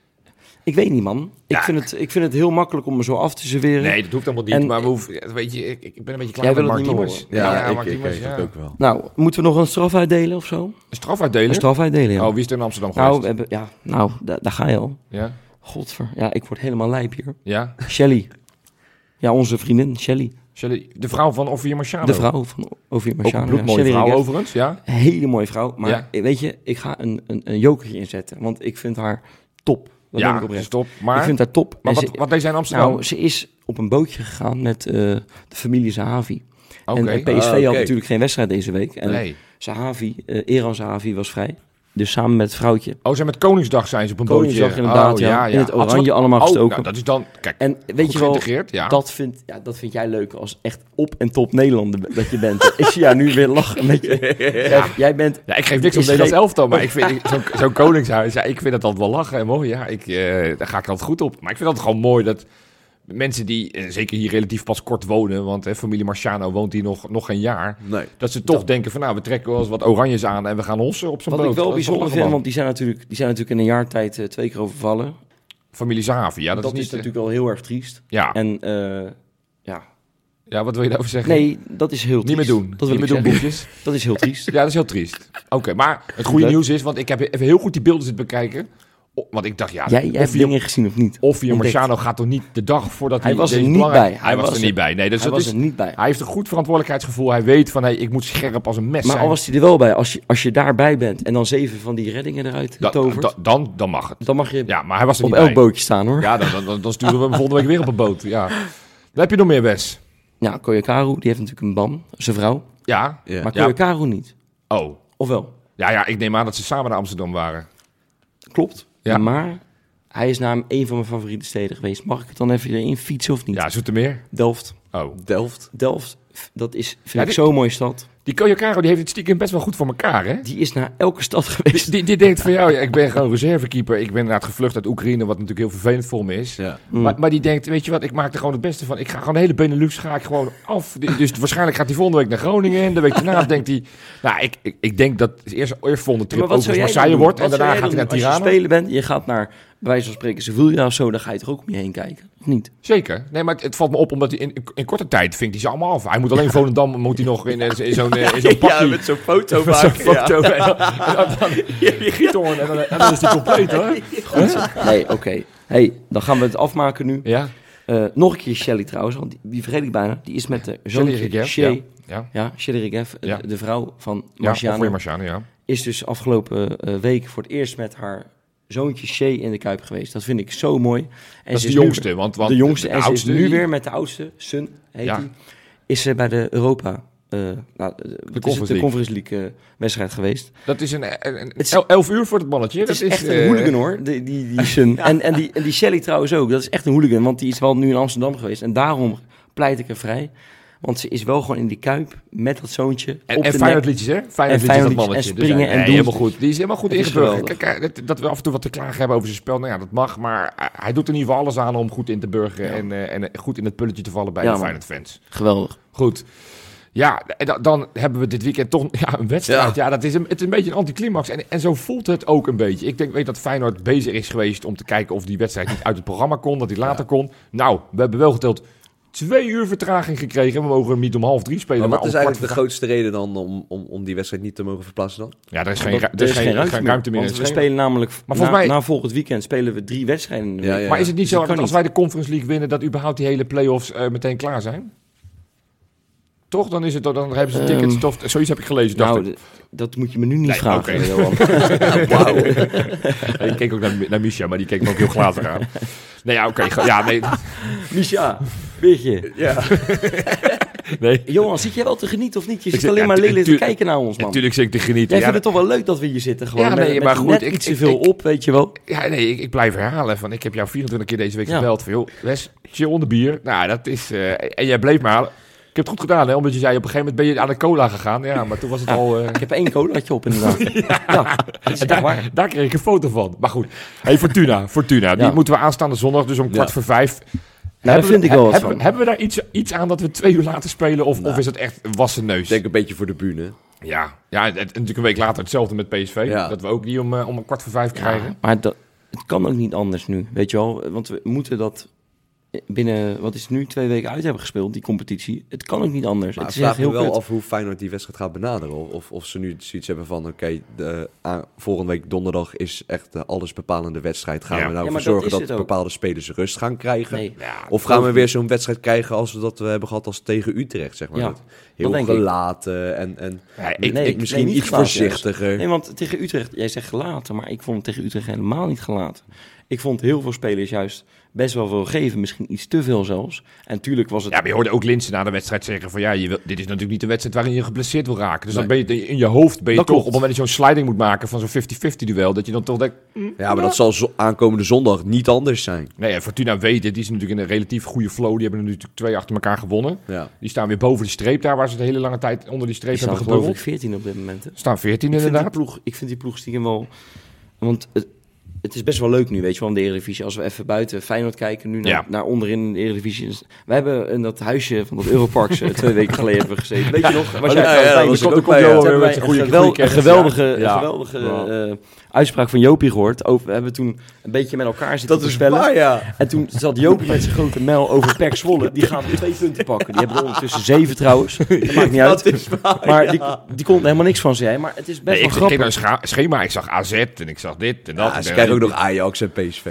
C: ik weet niet, man. Ik,
B: Ja.
C: vind het, ik vind het heel makkelijk om me zo af te serveren.
B: Nee, dat hoeft allemaal niet.
C: En-
B: maar we hoeven, weet je, ik, ik ben een beetje klaar
C: Jij
B: met
C: wil
B: Mark
C: het niet meer
B: Diemers.
D: Ja, ik,
B: Mark
D: ik,
B: Diemers,
D: ik
B: ja.
D: ook wel.
C: Nou, moeten we nog een straf uitdelen of zo?
B: Een straf uitdelen?
C: Een straf uitdelen, ja.
B: Oh, wie is er in Amsterdam
C: nou, eh,
B: geweest?
C: we hebben, ja, nou da- daar ga je al.
B: ja?
C: Godver, ja, ik word helemaal lijp hier.
B: Ja?
C: Shelly. Ja, onze vriendin Shelly.
B: Shelley- de vrouw van Ovier Marciano.
C: De vrouw van Ovie
B: Ook een
C: Marciano.
B: bloedmooie
C: ja, Shelly
B: vrouw
C: Regev.
B: overigens, ja?
C: Een hele mooie vrouw. Maar
B: Ja.
C: eh, weet je, ik ga een, een, een jokertje inzetten. Want ik vind haar top. Dat ben
B: ja,
C: ik oprecht.
B: stop. Maar,
C: ik vind haar top.
B: maar
C: En
B: wat,
C: ze-
B: wat deed zij in Amsterdam?
C: nou, ze is op een bootje gegaan met eh, de familie Zahavi.
B: Oké.
C: En, eh, en PSV
D: Ah, oké.
C: had natuurlijk geen wedstrijd deze week. En
B: nee.
C: Sahavi, eh Eran Sahavi was vrij. Dus samen met het vrouwtje.
B: Oh, zijn met Koningsdag zijn ze op een
C: Koningsdag
B: bootje.
C: inderdaad,
B: Oh,
C: ja. In het
B: Had ze
C: oranje
B: wat-
C: allemaal
B: oh,
C: gestoken.
B: nou, dat is dan, kijk,
C: En weet
B: goed
C: je wel,
B: geïntegreerd, ja.
C: dat, vind, ja, dat vind jij leuk als echt op en top Nederlander be- dat je bent. ik zie jou nu weer lachen met je. Jij- Jij bent...
B: Ja, ik geef niks op
C: Is
B: Nederlands
C: geen-
B: elftal, maar ik vind ik- zo'n zo'n koningshuis, ja, ik vind dat altijd wel lachen en mooi. Ja, ik, eh, daar ga ik altijd goed op. Maar ik vind het gewoon mooi dat mensen die, eh, zeker hier relatief pas kort wonen, want hè, familie Marciano woont hier nog, nog geen jaar,
D: Nee.
B: dat ze toch denken van nou, we trekken wel eens wat oranjes aan en we gaan hossen op zo'n
C: Wat
B: boot.
C: ik wel
B: Dat is
C: bijzonder
B: lachen,
C: vind,
B: man.
C: want die zijn natuurlijk, die zijn natuurlijk in een jaar tijd eh, twee keer overvallen.
B: Familie Zavi, ja, dat,
C: dat
B: is
C: is,
B: niet... eh,
C: natuurlijk wel heel erg triest.
B: ja.
C: En eh, ja,
B: ja, wat wil je daarover zeggen?
C: nee, dat is heel
B: Niet
C: triest.
B: meer doen.
C: Dat wil
B: Niet
C: ik
B: meer doen,
C: zeggen.
B: boekjes.
C: Dat is heel triest.
B: Ja, dat is heel triest. Oké, maar het goede
C: Leuk.
B: nieuws is, want ik heb even heel goed die beelden zitten bekijken. O- Want ik dacht, ja,
C: jij jij
B: of
C: hebt
B: je-
C: dingen gezien of niet?
B: Of je
C: Ontdekt.
B: Marciano gaat toch niet de dag voordat hij...
C: Hij was er
B: deze
C: niet
B: belangrijk-
C: bij.
B: Hij, was, er niet bij. Nee, dus
C: Hij
B: dat
C: was
B: is,
C: er niet bij.
B: hij heeft een goed verantwoordelijkheidsgevoel. Hij weet van, hey, ik moet scherp als een mes
C: Maar
B: zijn.
C: al was hij er wel bij, als je, als je daarbij bent en dan zeven van die reddingen eruit
B: Da-
C: tovert,
B: da- dan, dan mag het.
C: dan mag je
B: Ja, maar hij was er
C: op
B: niet
C: elk
B: bij.
C: bootje staan hoor.
B: Ja, dan, dan, dan, dan sturen we hem volgende week weer op een boot. Ja. Dan heb je nog meer, Wes.
C: Ja, Nou, Koyakaru, die heeft natuurlijk een ban, zijn vrouw.
B: Ja?
D: Ja.
C: Maar
B: Ja.
C: Koyakaru niet.
B: Oh.
C: Ofwel?
B: Ja, ja, ik neem aan dat ze samen naar Amsterdam waren.
C: Klopt.
B: Ja.
C: Maar hij is namelijk een van mijn favoriete steden geweest. Mag ik het dan even erin fietsen of niet?
B: Ja, Zoetermeer.
C: Delft.
B: Oh.
D: Delft.
C: Delft, f- dat is, vind
B: Ja,
C: ik
B: die-
C: zo'n mooie stad.
B: Die Koyakaro, die heeft het stiekem best wel goed voor elkaar, hè?
C: Die is naar elke stad geweest.
B: Die, die, die denkt van, ja, ja, ik ben gewoon reservekeeper. Ik ben inderdaad gevlucht uit Oekraïne, wat natuurlijk heel vervelend voor me is.
D: Ja.
C: Mm.
B: Maar, maar die denkt, weet je wat, ik maak er gewoon het beste van. Ik ga gewoon de hele Benelux ga ik gewoon af. Die- Dus waarschijnlijk gaat hij volgende week naar Groningen. En de week daarna denkt hij... Nou, ik, ik, ik denk dat het eerst, eerst volgende trip
C: maar wat
B: over
C: zou jij dan
B: Marseille
C: doen?
B: wordt.
C: Wat
B: En daarna
C: zou
B: gaat hij
C: jij
B: naar
C: dan doen? Als je
B: Tirana.
C: spelen bent, je gaat naar, bij wijze van spreken, Sevilla of zo, dan ga je toch ook om je heen kijken? Of niet?
B: Zeker. Nee, maar het, het valt me op omdat hij in, in- in korte tijd vinkt hij ze allemaal af. Hij moet alleen Volendam, moet hij nog in, eh, in zo'n eh, in zo'n pakje.
D: zo'n foto
B: Met zo'n foto en dan, dan, die giethoorn en dan, en dan is hij compleet, hoor.
C: Goed zo. Nee, oké. hey, dan gaan we het afmaken nu.
B: Ja,
C: Eh, nog een keer Shelly trouwens, want die, die vergeet ik bijna. Die is met de zoon
B: Shelly Rigev,
C: Shay.
B: ja.
C: Ja, Shelly Rigev, de-
B: Ja.
C: de vrouw van
B: ja of
C: Marciano.
B: weer Marciano, ja.
C: is dus afgelopen eh, week voor het eerst met haar zoontje Shay in de Kuip geweest. Dat vind ik zo mooi. En
B: Dat
C: ze
B: is de
C: nu-
B: jongste, want, want
C: de jongste. en ze is
B: oudste
C: nu
B: die-
C: weer met de oudste, Sun heet
B: Ja.
C: die, is ze bij de Europa, eh, nou, de, wat is het,
B: Conference
C: de
B: League.
C: Conference League eh, wedstrijd geweest.
B: Dat is een, een, een-
C: is-
B: el- elf uur voor het mannetje.
C: Het
B: dat
C: is, echt
B: eh,
C: een hooligan hoor, die, die, die Sun. En, en, die, en die Shelly trouwens ook, dat is echt een hooligan, want die is wel nu in Amsterdam geweest. En daarom pleit ik er vrij, want ze is wel gewoon in die Kuip met dat zoontje
B: En,
C: op
B: en
C: de
B: Feyenoord
C: nek.
B: liedjes, hè? Feyenoord liedjes, dat
C: Feyenoord
B: mannetje.
C: liedjes en springen
B: ja,
C: en
B: nee,
C: doen.
B: helemaal goed. Die is helemaal goed
C: Het is
B: ingeburgerd.
C: geweldig.
B: Kijk, eh, dat, dat we af en toe wat te klagen hebben over zijn spel, nou ja, dat mag. Maar eh, hij doet er in ieder geval alles aan om goed in te burgeren en, eh, en eh, goed in het pulletje te vallen bij
C: Ja,
B: de
C: man.
B: Feyenoord-fans.
C: Geweldig.
B: Goed. Ja, en da- dan hebben we dit weekend toch ja, een wedstrijd. Ja,
D: Ja.
B: dat is een, het is een beetje een anticlimax. En, en zo voelt het ook een beetje. Ik denk, weet dat Feyenoord bezig is geweest om te kijken of die wedstrijd niet uit het programma kon. Dat die later kon. Nou, we hebben wel geteld twee uur vertraging gekregen. We mogen hem niet om half drie spelen.
D: Maar
B: Maar,
D: wat
B: om
D: is
B: kwart
D: eigenlijk de
B: voor-
D: grootste reden dan om, om, om die wedstrijd niet te mogen verplaatsen dan?
B: Ja, er is geen,
C: Want
B: ru- er is geen, ruimte, meer.
C: Want
B: Er
C: we
B: is geen-
C: spelen namelijk
B: Maar
C: maar
B: volgens
C: na,
B: mij-
C: na volgend weekend spelen we drie wedstrijden. in de
D: Ja,
C: week.
D: ja.
B: Maar is het niet
C: Dus dat
B: zo dat
C: kan
B: als wij de Conference League winnen, dat überhaupt die hele play-offs eh, meteen klaar zijn? Toch? Dan, is het, dan hebben ze tickets.
C: Ehm,
B: toch, zoiets heb ik gelezen. dacht
C: Nou,
B: ik.
C: d- dat moet je me nu niet
B: Nee,
C: vragen,
B: oké.
C: eh, Johan.
B: Ik keek ook naar, naar Misha, maar die keek me ook heel glazig aan. Nee, ja, oké. ge- ja, nee,
C: Misha, weet je.
B: nee.
C: Johan, zit jij wel te genieten of niet? Je
B: Ik
C: zit
B: zit-
C: alleen
B: ja,
C: maar
B: tu-
C: lelijk te
B: tuur-
C: kijken naar ons, man.
B: Natuurlijk zit ik te genieten.
C: Jij
B: Ja,
C: vindt het toch wel leuk dat we hier zitten gewoon.
B: Ja,
C: met-
B: nee,
C: met
B: maar goed,
C: net
B: ik-
C: iets
B: ik-
C: te veel
B: ik-
C: op, weet je wel.
B: ja, nee, ik, ik blijf herhalen. Van, ik heb jou 24 keer deze week
C: Ja.
B: gebeld. Van, joh, Wes, chill onder bier. Nou, dat is... eh, en jij bleef maar halen. Ik heb het goed gedaan, hè? Omdat je zei, op een gegeven moment ben je aan de cola gegaan. Ja, maar toen was het al... eh,
C: Ik heb één colaatje op, inderdaad. ja. dat is echt waar.
B: Daar kreeg ik een foto van. Maar goed. Hey, Fortuna. Fortuna. Die
C: Ja.
B: moeten we aanstaande zondag, dus om kwart voor vijf.
C: daar
B: Hebben
C: vind
B: we-
C: ik wel wat
B: hebben,
C: van. Nou.
B: Hebben we daar iets, iets aan dat we twee uur later spelen? Of, of is het echt een wassen neus?
D: Ik denk een beetje voor de bühne.
B: Ja, ja het, het- natuurlijk een week later hetzelfde met PSV.
D: Ja.
B: Dat we ook die om, eh, om een kwart voor vijf krijgen.
C: Ja, maar dat, het kan ook niet anders nu, weet je wel. Want we moeten dat binnen, wat is het nu, twee weken uit hebben gespeeld, die competitie. Het kan ook niet anders.
D: Maar
C: het
D: ik
C: is echt
D: vraag me
C: heel
D: wel
C: kut.
D: af hoe Feyenoord die wedstrijd gaat benaderen. Of, of, of ze nu zoiets hebben van, oké, de- aan- volgende week donderdag is echt de allesbepalende wedstrijd. Gaan
B: Ja.
D: we nou voor
C: Ja, maar dat
D: zorgen
C: is
D: dat,
C: het ook.
D: bepaalde spelers rust gaan krijgen?
C: Nee.
B: Ja,
D: Of gaan we weer zo'n wedstrijd krijgen als we dat we hebben gehad als tegen Utrecht, zeg maar.
C: Ja,
D: Dat
C: dat
D: heel
C: denk ik.
D: gelaten en, en
B: Ja,
D: ik,
C: nee,
D: ik misschien
C: nee, niet
D: iets
C: gelaten,
D: voorzichtiger.
C: Nee, want tegen Utrecht, jij zegt gelaten, maar ik vond hem tegen Utrecht helemaal niet gelaten. Ik vond heel veel spelers juist best wel veel geven. Misschien iets te veel zelfs. En tuurlijk was het...
B: Ja, maar je hoorde ook Linsen na de wedstrijd zeggen van ja, je wil, dit is natuurlijk niet de wedstrijd waarin je geblesseerd wil raken. Dus
C: Nee.
B: dan ben je in je hoofd ben je
C: Dat
B: toch
C: klopt.
B: op het moment dat je zo'n sliding moet maken van zo'n 50-50 duel, dat je dan toch denkt,
D: Ja, maar dat zal zo- aankomende zondag niet anders zijn.
B: nee, ja, Fortuna weet dit, die is natuurlijk in een relatief goede flow. Die hebben er natuurlijk twee achter elkaar gewonnen.
D: Ja.
B: Die staan weer boven de streep daar waar ze de hele lange tijd onder die
C: Die
B: streep
C: staan
B: hebben
C: geloof
B: gebubbeld.
C: ik 14 op dit moment. hè?
B: Staan 14
C: Ik vind, die
B: inderdaad.
C: ploeg, ik vind die ploeg stiekem wel... Want het, het is best wel leuk nu, weet je wel, in de Eredivisie. Als we even buiten Feyenoord kijken, nu naar,
B: Ja.
C: naar onderin in de Eredivisie. Dus We hebben in dat huisje van dat Europarks eh, twee weken geleden hebben we gezeten. Weet je nog? Was
D: Ja,
C: jij
D: ja,
C: daar
D: dat
C: bij?
D: was
B: Dan
D: ik
B: komt
D: ook bij,
B: Johan
D: ja.
C: Toen
B: weer
C: hebben
B: met
C: wij
B: zijn
C: een
B: goede-
C: gewel-
B: goede
C: een
B: kennis,
C: geweldige,
B: ja.
C: een
B: Ja.
C: geweldige eh, uitspraak van Jopie gehoord. Over, hebben we toen een beetje met elkaar zitten
D: Dat
C: te
D: is
C: spellen.
D: waar, ja.
C: En toen zat Jopie met zijn grote mel over Pek Zwolle. Die gaan twee punten pakken. Die hebben er ondertussen zeven trouwens. Dat maakt niet uit.
D: Dat is waar,
C: Maar
D: ja.
C: die, die kon er helemaal niks van zeggen. Maar het is best
B: Nee, ik
C: wel
B: keek naar
C: grappig.
B: een scha- schema, ik zag AZ en ik zag dit en dat.
D: Ja,
B: en
D: ze
B: dat.
D: krijgen ook nog Ajax en PSV.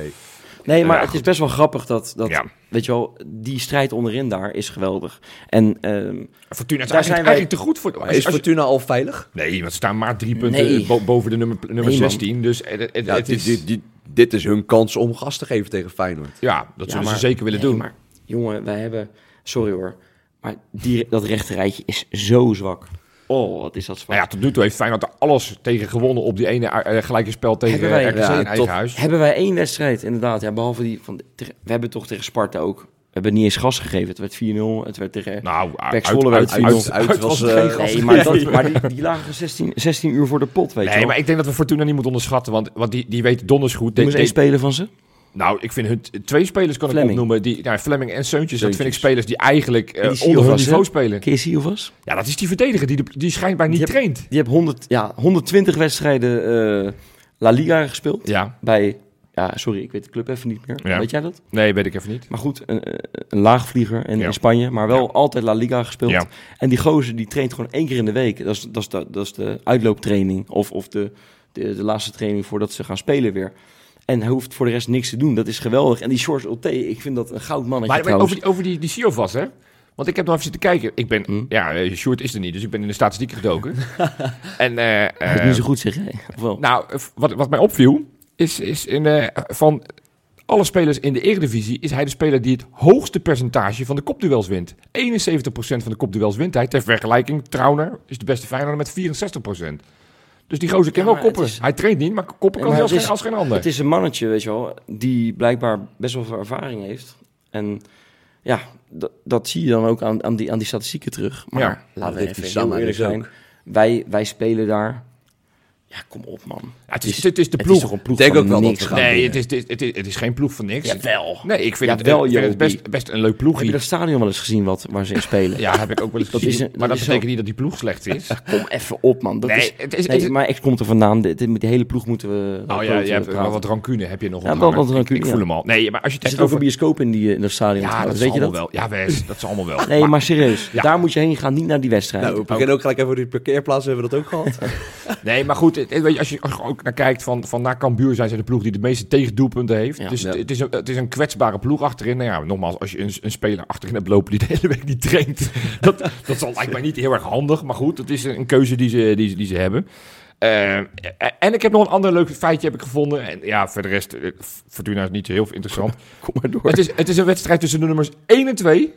C: Nee, maar
B: Ja,
C: het is best wel grappig dat, dat
B: Ja.
C: weet je wel, die strijd onderin daar is geweldig. En ehm,
B: Fortuna is
C: Daar
B: eigenlijk,
C: zijn wij-
B: eigenlijk te goed voor.
D: Maar
B: als-
D: is
B: als je-
D: Fortuna al veilig?
B: Nee, want ze staan maar drie punten eh,
C: Nee.
B: bo- boven de nummer, nummer
C: Nee, man.
B: 16. Dus eh, eh, eh,
D: Ja,
B: het
D: dit,
B: is,
D: dit, dit, dit is hun kans om gas te geven tegen Feyenoord.
B: ja, dat zullen
C: maar-
B: ze zeker willen
C: nee,
B: doen.
C: Maar jongen, wij hebben, sorry hoor, maar die, dat rechte rijtje is zo zwak. Oh, wat is dat zwak.
B: Nou ja, tot nu toe heeft Feyenoord er alles tegen gewonnen op die ene eh, gelijke spel tegen
C: Hebben wij-
B: eh, RKC
D: ja,
B: in eigen
D: tot-
B: huis.
C: Hebben wij één wedstrijd, inderdaad. Ja, behalve die van, tegen- we hebben toch tegen Sparta ook, we hebben niet eens gas gegeven. Het werd 4-0, het werd tegen...
B: Nou,
C: Pek
B: uit, uit,
C: Zwolle werd
B: uit,
D: Uit,
B: uit
D: uit was...
B: was geen
D: eh,
B: gas.
C: Nee, maar, dat, maar die, die lagen 16, 16 uur voor de pot, weet je
B: Nee,
C: wel.
B: maar ik denk dat we Fortuna niet moeten onderschatten, want, want die, die weet donders goed. Dit-
C: Noem eens één
B: dit-
C: speler van ze.
B: nou, ik vind hun t- twee spelers kan
C: Flemming.
B: ik opnoemen. Die, nou, Fleming en Seuntjes, dat vind ik
D: Seuntjes.
B: spelers die eigenlijk eh,
C: die zie je
B: onder hun
C: vast, hè?
B: niveau spelen.
C: Ken je Siovas?
B: Ja, dat is die verdediger die, de, die schijnbaar niet
C: Die heb-
B: traint.
C: Die heeft 100, ja, 120 wedstrijden eh, La Liga gespeeld.
B: Ja,
C: Bij, ja, sorry, ik weet de club even niet meer.
B: Ja.
C: Weet jij dat?
B: nee, weet ik even niet.
C: Maar goed, een, eh, een laagvlieger in,
B: Ja.
C: in Spanje, maar wel altijd La Liga gespeeld.
B: Ja.
C: En die gozer die traint gewoon één keer in de week. Dat is, dat is, de, dat is de uitlooptraining of, of de, de, de laatste training voordat ze gaan spelen weer. En hij hoeft voor de rest niks te doen. Dat is geweldig. En die George Ulte, ik vind dat een goud mannetje
B: Maar, maar
C: trouwens.
B: over, die- over die, die Siovas, hè? Want ik heb nog even zitten kijken. Ik ben,
C: Hm.
B: ja, eh, Sjoerd is er niet, dus ik ben in de statistieken gedoken. en, eh,
C: Dat
B: eh,
C: is niet zo goed, zeg jij. Of wel?
B: nou, eh, wat, wat mij opviel, is, is in, eh, van alle spelers in de Eredivisie is hij de speler die het hoogste percentage van de kopduels wint. 71% van de kopduels wint hij. Ter vergelijking, Trauner is de beste Feyenoorder met 64%. Dus die gozer kan
C: Ja,
B: wel
C: maar het
B: koppen.
C: is-
B: Hij traint niet, maar koppen
C: Nee,
B: kan hij
C: maar
B: als,
C: het
B: geen,
C: is-
B: als geen ander.
C: Het is een mannetje, weet je wel, die blijkbaar best wel veel ervaring heeft. En ja, dat, dat zie je dan ook aan, aan, die, aan die statistieken terug. Maar
B: Ja,
C: laten we
D: heeft die
C: even
D: Sanne
C: heel eerlijk
D: dus
C: zijn. Wij, wij spelen daar... Ja, kom op, man.
B: Ja, het, is, het is de
C: Het is
B: ploeg.
C: toch een ploeg
D: Ik denk
C: van
D: ook wel dat
C: niks
D: we
C: gaan
D: gaan
B: Nee,
C: winnen.
B: het is, het, is, het, is, het is geen ploeg van niks.
C: Jawel.
B: Nee, ik vind het,
C: Jawel,
B: ik vind het
C: Jopie.
B: best, best een leuk
C: Heb je
B: ploegje.
C: dat stadion wel eens gezien wat, waar ze in spelen?
B: Ja, heb ik ook wel eens
C: Dat
B: gezien.
C: is een-
B: maar
C: dat
B: dat
C: is
B: betekent
C: zo.
B: niet dat die ploeg slecht is.
C: Kom even op, man. Dat
B: nee,
C: is,
B: het is...
C: nee,
B: het is-
C: maar ik komt er vandaan. Dit- dit- Met die hele ploeg moeten we...
B: oh ja,
C: praten.
B: je hebt wel wat rancune heb je nog
C: Ja, wel
B: onthangen.
C: wat
B: Ik-
C: rancune,
B: Ik
C: ja.
B: voel hem al. Nee, maar als je
C: Er
B: het
C: zit
B: hebt
C: ook een
B: over...
C: bioscoop in, die, in dat stadion.
B: Ja, dat
C: trouwens.
B: is
C: Weet je
B: allemaal
C: dat?
B: wel. Ja, Wes, dat is allemaal wel.
C: Nee, maar, serieus.
B: Ja.
C: Daar moet je heen gaan, niet naar die wedstrijd.
D: Nou, we beginnen ook gelijk even over die parkeerplaats. Hebben we dat ook gehad?
B: Nee, maar goed, het- het- weet je, als je als je ook naar kijkt, van, van na Cambuur zijn ze de ploeg die de meeste tegendoelpunten heeft.
C: Ja.
B: dus
D: Ja.
B: Het, het is een, het is een kwetsbare ploeg achterin. Nou ja, nogmaals, als je een, een speler achterin hebt lopen die de hele week niet traint, dat, dat zal, lijkt mij niet heel erg handig. Maar goed, het is een keuze die ze, die, ze- die ze hebben. Eh, en ik heb nog een ander leuk feitje heb ik gevonden. En ja, voor de rest, eh, Fortuna is niet heel interessant.
C: Kom maar door.
B: het, is, het is een wedstrijd tussen de nummers 1 en 2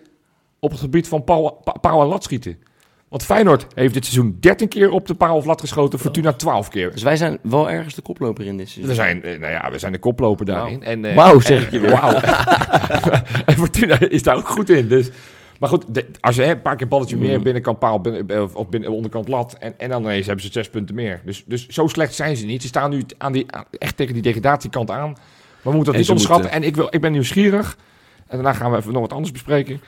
B: op het gebied van paal, pa- paal en lat schieten. Want Feyenoord heeft dit seizoen 13 keer op de paal of lat geschoten, Fortuna 12 keer.
C: Dus wij zijn wel ergens de koploper in dit seizoen.
B: We zijn, eh, nou ja, we zijn de koploper daarin. En, eh,
C: Wauw, zeg je weer.
B: Wauw. en Fortuna is daar ook goed in. Dus. Maar goed, de- als je hè, een paar keer balletje
C: Mm.
B: meer binnenkant paal binnen, eh, of binnen, onderkant lat. En, en dan ineens hebben ze zes punten meer. Dus, dus zo slecht zijn ze niet. Ze staan nu t- aan die, aan- echt tegen die degradatiekant aan. Maar we moeten dat
D: En
B: niet
D: ze
B: onderschatten. En ik, wil, ik ben nieuwsgierig. En daarna gaan we even nog wat anders bespreken.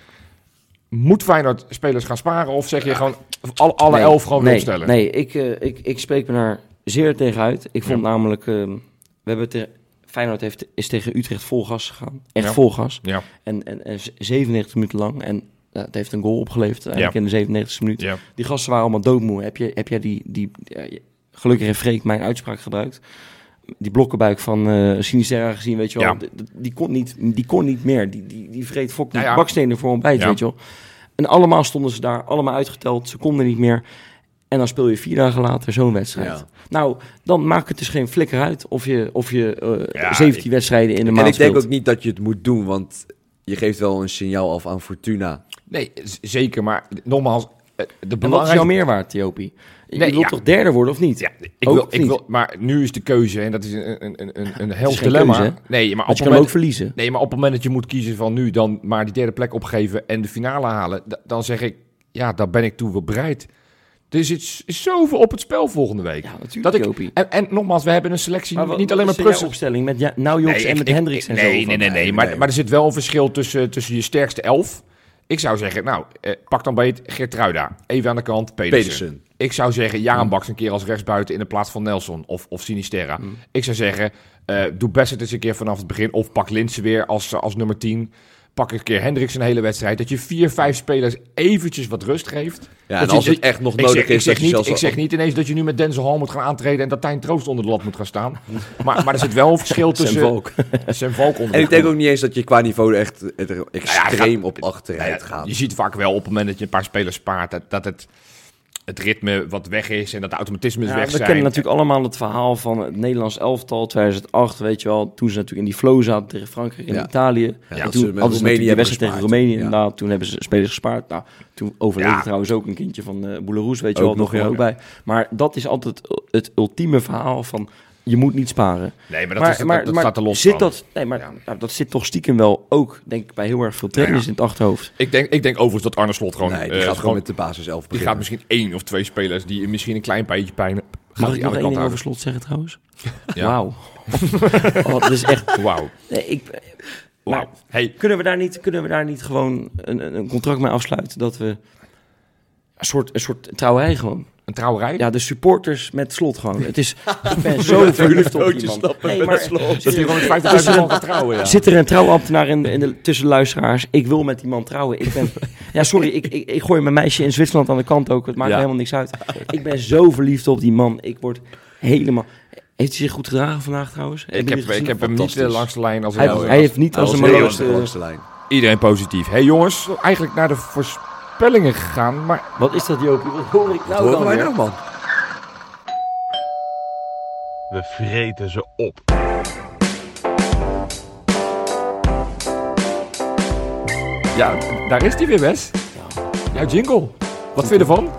B: Moet Feyenoord spelers gaan sparen? Of zeg je gewoon alle, alle
C: Eh, Nee,
B: elf gewoon weer
C: nee,
B: opstellen?
C: Nee, ik, eh, ik, ik spreek me daar zeer tegen uit. Ik vond
B: Ja.
C: namelijk... ehm, we hebben te, Feyenoord heeft, is tegen Utrecht vol gas gegaan. Echt
B: Ja.
C: vol gas.
B: Ja,
C: En, en, en z- 97 minuten lang. En eh, het heeft een goal opgeleverd eigenlijk
B: Ja.
C: in de 97 minuut.
B: ja.
C: Die gasten waren allemaal doodmoe. Heb, je, heb jij die... die ja, je- gelukkig heeft Freek mijn uitspraak gebruikt. Die blokkenbuik van eh Sinisterra gezien, weet je wel.
B: Ja.
C: D- d- Die, kon niet, die kon niet meer. Die, die, die vreet fok die
B: Nou ja.
C: bakstenen voor ontbijt,
B: Ja.
C: weet je wel. En allemaal stonden ze daar, allemaal uitgeteld. Ze konden niet meer. En dan speel je vier dagen later zo'n wedstrijd.
D: Ja.
C: Nou, dan maakt het dus geen flikker uit of je, of je eh,
B: Ja,
C: 17 wedstrijden in de
D: En
C: maand
D: ik denk
C: speelt.
D: ook niet dat je het moet doen, want je geeft wel een signaal af aan Fortuna.
B: Nee, z- zeker. Maar nogmaals, eh, de
C: en wat is
B: belangrijkste...
C: jouw meerwaarde, Jopie? Je
B: Nee,
C: wilt
B: ja.
C: toch derde worden of niet?
B: Ja, ik
C: Ook
B: wil,
C: of
B: ik
C: niet?
B: wil, maar nu is de keuze, en dat is een, een, een, een, een hels
C: geen
B: dilemma.
C: keuze, hè?
B: nee, maar op het
C: Want je kan hem ook
B: moment,
C: verliezen.
B: nee, maar op het moment dat je moet kiezen van nu dan maar die derde plek opgeven en de finale halen, da- dan zeg ik, ja, daar ben ik toe wel bereid. Dus Er zit s- zoveel op het spel volgende week.
C: Ja, natuurlijk,
B: dat ik,
C: Jopie.
B: en, en nogmaals, we hebben een selectie,
C: wat-
B: niet
C: wat
B: alleen maar
C: is in jouw
B: Prussen.
C: opstelling met ja, nou Jobs en
B: ik-
C: met
B: ik-
C: Hendricks en
B: nee,
C: zo.
B: Nee,
C: van- eh,
B: nee, nee,
D: nee,
B: Maar,
D: nee.
B: maar er zit wel een verschil tussen, tussen je sterkste elf. Ik zou zeggen, nou, eh, pak dan bij het Geertruida. Even aan de kant, Pedersen.
D: Pedersen.
B: Ik zou zeggen,
C: Mm.
B: Jaan Baks een keer als rechtsbuiten in de plaats van Nelson of, of Sinisterra.
C: Mm.
B: Ik zou zeggen, eh, doe best het eens een keer vanaf het begin. Of pak Linsen weer als, eh, als nummer 10. Pak een keer Hendricks een hele wedstrijd. Dat je vier, vijf spelers eventjes wat rust geeft.
D: Ja, en
B: Dat
D: als
B: je-
D: het echt nog
B: ik
D: nodig
B: zeg,
D: is,
B: ik zeg,
D: dat je
B: niet,
D: zelfs
B: ik
D: wel-
B: zeg niet ineens dat je nu met Denzel Hall moet gaan aantreden... en dat Tijn Troost onder de lat moet gaan staan. Maar, maar er zit wel een verschil
C: Sam
B: tussen...
C: Valk.
B: Sam Valk onder
D: En
B: de
D: ik denk
B: grond.
D: ook niet eens dat je qua niveau er echt er extreem
B: Nou gaat-
D: op achteruit
B: Nou ja,
D: gaat.
B: Je ziet vaak wel op het moment dat je een paar spelers spaart... dat, dat het, het ritme wat weg is en dat de automatismes
C: Ja,
B: weg
C: we
B: zijn.
C: kennen natuurlijk allemaal het verhaal van het Nederlands elftal 2008, weet je wel. Toen ze natuurlijk in die flow zaten tegen Frankrijk en
D: Ja.
C: Italië.
D: dat
C: en
D: ze
C: toen
D: met
C: hadden ze
D: Roemenië
C: natuurlijk de wedstrijd tegen
D: hebben
C: Roemenië
D: gespaard. Ja.
C: inderdaad. Toen hebben ze spelers gespaard. Nou, toen overleed
B: Ja.
C: trouwens ook een kindje van eh Bouleroes, weet je
D: Ook
C: wel.
D: nog,
C: Nog,
D: ja.
C: ook bij. Maar dat is altijd het ultieme verhaal van je moet niet sparen.
B: Nee, maar dat, is, dat, dat staat er los
C: zit
B: van.
C: dat, nee, maar
B: Ja.
C: nou, dat zit toch stiekem wel ook, denk ik, bij heel erg veel trainers in het achterhoofd.
B: Ik, denk, ik denk overigens dat Arne Slot gewoon...
D: nee, die
B: eh,
D: gaat gewoon, met de basis 11
B: die
D: beginnen.
B: gaat misschien één of twee spelers... die misschien een klein beetje pijn hebben.
C: Mag
B: gaat
C: ik
B: die
C: nog
B: aan de
C: één
B: kant
C: ding over
B: houden.
C: slot zeggen trouwens?
B: Ja.
C: Wauw. oh, dat is echt...
B: Wauw.
C: Nee, ik,
B: Wauw.
C: Maar-
B: Hey,
C: Kunnen we daar niet, kunnen we daar niet gewoon een, een- een contract mee afsluiten dat we een soort, een soort trouwerij gewoon.
B: een trouwerij?
C: Ja, de supporters met slot gewoon. Het is, ik ben zo verliefd op die man. Nee, maar,
B: Dat hij
C: zit,
B: gewoon
C: er,
B: met 50.000 man gaat trouwen, ja.
C: zit er een trouwambtenaar in, de- in de, tussen de luisteraars? Ik wil met die man trouwen. Ik ben, ja, sorry, ik, ik, ik gooi mijn meisje in Zwitserland aan de kant ook. Het maakt
B: Ja.
C: me helemaal niks uit. Ik ben zo verliefd op die man. Ik word helemaal... Heeft hij zich goed gedragen vandaag trouwens? Hebben
B: Ik heb,
C: jullie het
B: ik
C: gezien?
B: heb hem niet eh,
D: Fantastisch.
B: langs de lijn als
C: Hij,
B: een-
C: hij heeft niet
D: Hij
C: als
D: was
C: een
D: heel
C: maloos...
D: erg
C: eh,
D: langs de lijn.
B: Iedereen positief. Hey jongens, eigenlijk naar de voorspellingen gegaan, maar
C: Wat is dat, Jopie? Wat hoor ik nou
D: Horen
C: dan
D: wij
C: weer?
D: nou, man?
A: We vreten ze op.
B: ja, daar is hij weer, Wes. Jouw jingle. Wat vind je ervan?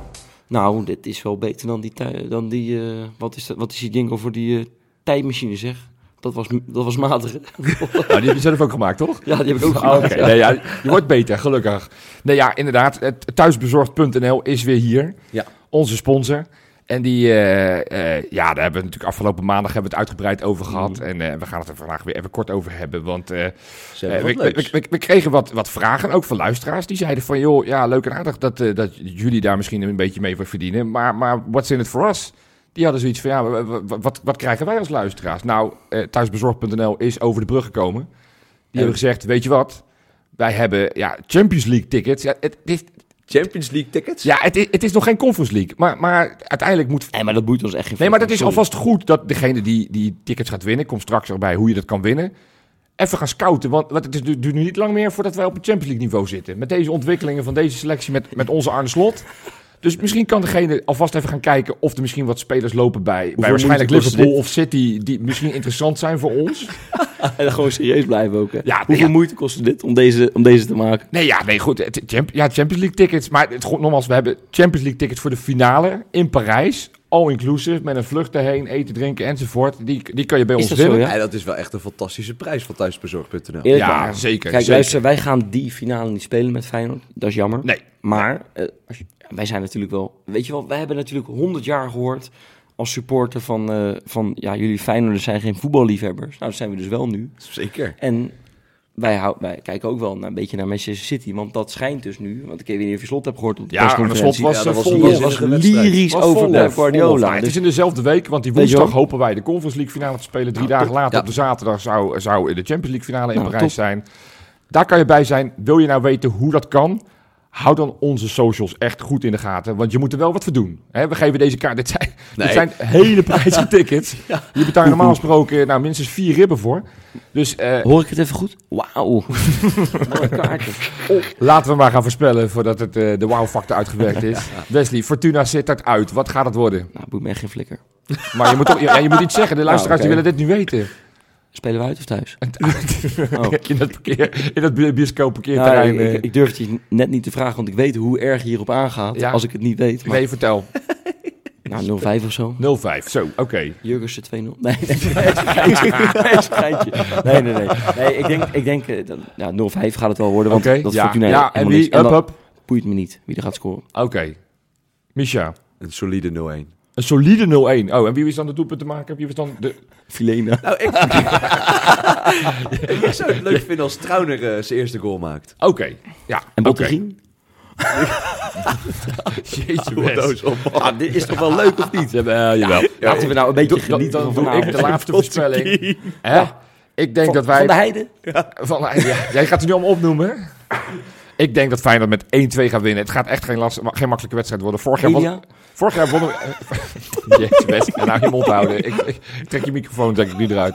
C: Nou, dit is wel beter dan die... tui- Dan die eh, wat, is dat, wat is die jingle voor die eh, tijdmachine, zeg? Dat was, dat was matig. hè?
B: Nou, die heb je zelf ook gemaakt, toch?
C: ja, die heb ik ook
B: Ah,
C: gemaakt.
B: Oké, nee, ja, je wordt beter, gelukkig. Nee, ja, inderdaad. het Thuisbezorgd.nl is weer hier.
D: Ja.
B: Onze sponsor. En die, eh, eh, ja, daar hebben we natuurlijk afgelopen maandag hebben we het uitgebreid over gehad. En eh, we gaan het er vandaag weer even kort over hebben. Want eh,
D: Ze
B: Eh,
D: hebben
B: we,
D: wat
B: we,
D: leuks.
B: we- we kregen wat, wat vragen, ook van luisteraars. Die zeiden van, joh, ja, leuk en aardig dat, eh, dat jullie daar misschien een beetje mee voor verdienen. Maar, maar what's in it for us? Die hadden zoiets van, ja, wa- wa- wa- wat, wat krijgen wij als luisteraars? Nou, eh, thuisbezorgd.nl is over de brug gekomen. Die hebben gezegd, weet je wat? Wij hebben ja, Champions League tickets. Ja, het, het is,
D: Champions League tickets?
B: ja, het, is, het is nog geen Conference League. Maar, maar uiteindelijk moet
C: Nee, maar dat boeit ons echt geen
B: Nee, maar dat
C: flikker,
B: is
C: sorry.
B: alvast goed dat degene die, die tickets gaat winnen, ik kom straks erbij hoe je dat kan winnen, even gaan scouten. Want, want het is, du- duurt nu niet lang meer voordat wij op het Champions League niveau zitten. Met deze ontwikkelingen van deze selectie, met, met onze Arne Slot. Dus misschien kan degene alvast even gaan kijken of er misschien wat spelers lopen bij, bij waarschijnlijk
C: moeite kost
B: Liverpool of City, die misschien interessant zijn voor ons.
C: En dan gewoon serieus blijven ook, hè?
B: nee,
C: Hoeveel
B: ja.
C: moeite kostte dit om deze, om deze te maken?
B: Nee, ja, nee, goed. Het- het champ- ja, Champions League tickets. Maar het, goed, nogmaals, we hebben Champions League tickets voor de finale in Parijs. All inclusive, met een vlucht daarheen, eten, drinken enzovoort. Die, die kan je bij
C: Is
B: ons
C: dat zo,
B: winnen.
C: ja?
D: Ja, dat is wel echt een fantastische prijs van thuisbezorgd.nl.
C: Eerlijk
B: Ja,
C: waar.
B: zeker.
C: Kijk,
B: zeker.
C: luister, wij gaan die finale niet spelen met Feyenoord. Dat is jammer.
B: Nee.
C: Maar eh, als je- ja, wij zijn natuurlijk wel... Weet je wel, wij hebben natuurlijk honderd jaar gehoord als supporter van... eh, van ja, jullie Feyenoorders zijn geen voetballiefhebbers. Nou, dat zijn we dus wel nu.
D: Zeker.
C: En wij, hou, wij kijken ook wel naar, een beetje naar Manchester City. Want dat schijnt dus nu... Want ik weet niet of je slot hebt gehoord op de
B: Ja, Arne
C: persconferentie.
B: Slot was,
D: Ja, dat
B: eh,
D: was
B: vol-
D: een
C: Die
D: waanzinnige
C: was
D: wedstrijd.
C: lyrisch
B: was
C: over
B: vol-
C: Pep
B: vol- vol-
C: Guardiola.
B: Het
C: Dus
B: is in dezelfde week, want die
C: Weet je
B: woensdag
C: wel?
B: hopen wij de Conference League finale te spelen. Drie dagen later,
D: Ja,
B: op de zaterdag, zou, zou de Champions League finale in
C: Nou,
B: Parijs
C: top.
B: zijn. Daar kan je bij zijn. Wil je nou weten hoe dat kan? Hou dan onze socials echt goed in de gaten, want je moet er wel wat voor doen. Hè, we geven deze kaart, dit zijn, dit
D: Nee.
B: zijn hele prijzige tickets. Je betaalt normaal gesproken nou, minstens vier ribben voor. Dus eh,
C: Hoor ik het even goed? Wauw. Mooie kaarten.
B: laten we maar gaan voorspellen voordat het, eh, de wow-factor uitgewerkt is. Wesley, Fortuna zit dat uit. Wat gaat het worden?
C: Nou, boeit me echt geen flikker.
B: Maar je moet, toch, ja, je moet iets zeggen. De luisteraars
C: Nou, oké.
B: die willen dit nu weten.
C: Spelen we uit of thuis?
B: Oh. in dat, parkeer, in dat bi- bioscoopparkeerterrein.
C: Nou,
B: eh.
C: ik, ik durf het je net niet te vragen, want ik weet hoe erg je hierop aangaat
B: Ja.
C: als ik het niet weet. Maar,
B: nee, vertel.
C: Nou, 05 of zo.
B: 05. Zo, oké.
C: Jurgensen 2-0. Nee, nee, nee, nee, geintje. nee, nee, nee. nee ik denk, ik denk eh, dat, nou, 0-5 gaat het wel worden, want
B: Oké,
C: dat
B: ja,
C: Fortuna
B: ja, en
C: helemaal
B: wie?
C: niks.
B: Up,
C: dat
B: up.
C: boeit me niet wie er gaat scoren.
B: Oké. Misha,
D: Een solide 0-1.
B: een solide 0-1. Oh, en wie is dan de doelpunt te maken? Wie was dan de...
C: Filena.
D: Nou, ik... ik zou het leuk vinden als Trauner eh, zijn eerste goal maakt.
B: Oké, ja.
C: En
B: oké. Oh,
C: Bottegien?
B: Jeetje, Wes.
C: Ah, dit is toch wel leuk of niet?
B: jawel.
C: Laten we nou een beetje
B: Doe- dan-
C: genieten
B: dan
C: van
B: doe ik de
C: vanavond.
B: laatste voorspelling. Hè? Ik denk dat wij...
C: Van de Heide?
B: Van, ja, jij gaat het nu allemaal opnoemen. Ik denk dat Feyenoord met 1-2 gaat winnen. Het gaat echt geen, last, geen makkelijke wedstrijd worden. Vorig jaar,
C: Elia?
B: won, vorig jaar wonnen we... eh, Jezus, best. Nou, je mond houden. Ik, ik, ik trek je microfoon denk ik nu eruit.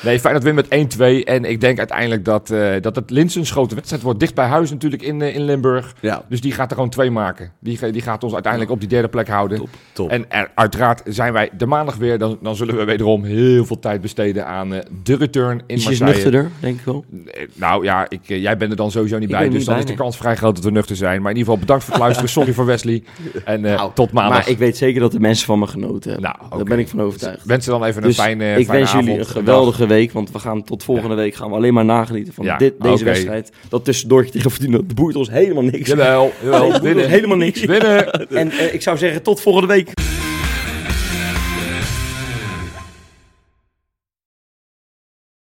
B: Nee, Feyenoord wint met 1-2. En ik denk uiteindelijk dat, eh, dat het Linsens grote wedstrijd wordt. Dicht bij huis natuurlijk in, eh, in Limburg.
D: Ja,
B: Dus die gaat er gewoon twee maken. Die, ge- die gaat ons uiteindelijk op die derde plek houden.
D: top. top.
B: En er- uiteraard zijn wij de maandag weer. Dan, dan zullen we wederom heel veel tijd besteden aan eh, de return in
C: Ietsjes
B: Marseille.
C: nuchterder, denk ik wel.
B: Eh, Nou ja, ik, eh, jij bent er dan sowieso niet
C: Ik
B: bij.
C: ben
B: Dus
C: er niet
B: dan
C: bij,
B: is de
C: nee.
B: kans vrij groot dat we nuchter zijn. Maar in ieder geval bedankt voor het luisteren. Sorry voor Wesley. En eh, tot maandag.
C: Nou, Maar ik weet zeker dat de mensen van me genoten hebben.
B: Nou, oké.
C: Daar ben ik van overtuigd.
B: wens je dan even
C: Dus
B: een fijne,
C: ik
B: fijne
C: wens
B: avond.
C: jullie een
B: Dag.
C: geweldige week, want we gaan tot volgende week gaan we alleen maar nagenieten van
B: Ja,
C: dit, deze
B: oké.
C: wedstrijd. Dat tussendoortje tegen Fortuna, dat boeit ons helemaal niks.
B: Jawel, jawel.
C: Nee, dat doet
B: winnen.
C: helemaal niks.
B: Winnen.
C: En eh, ik zou zeggen, tot volgende week.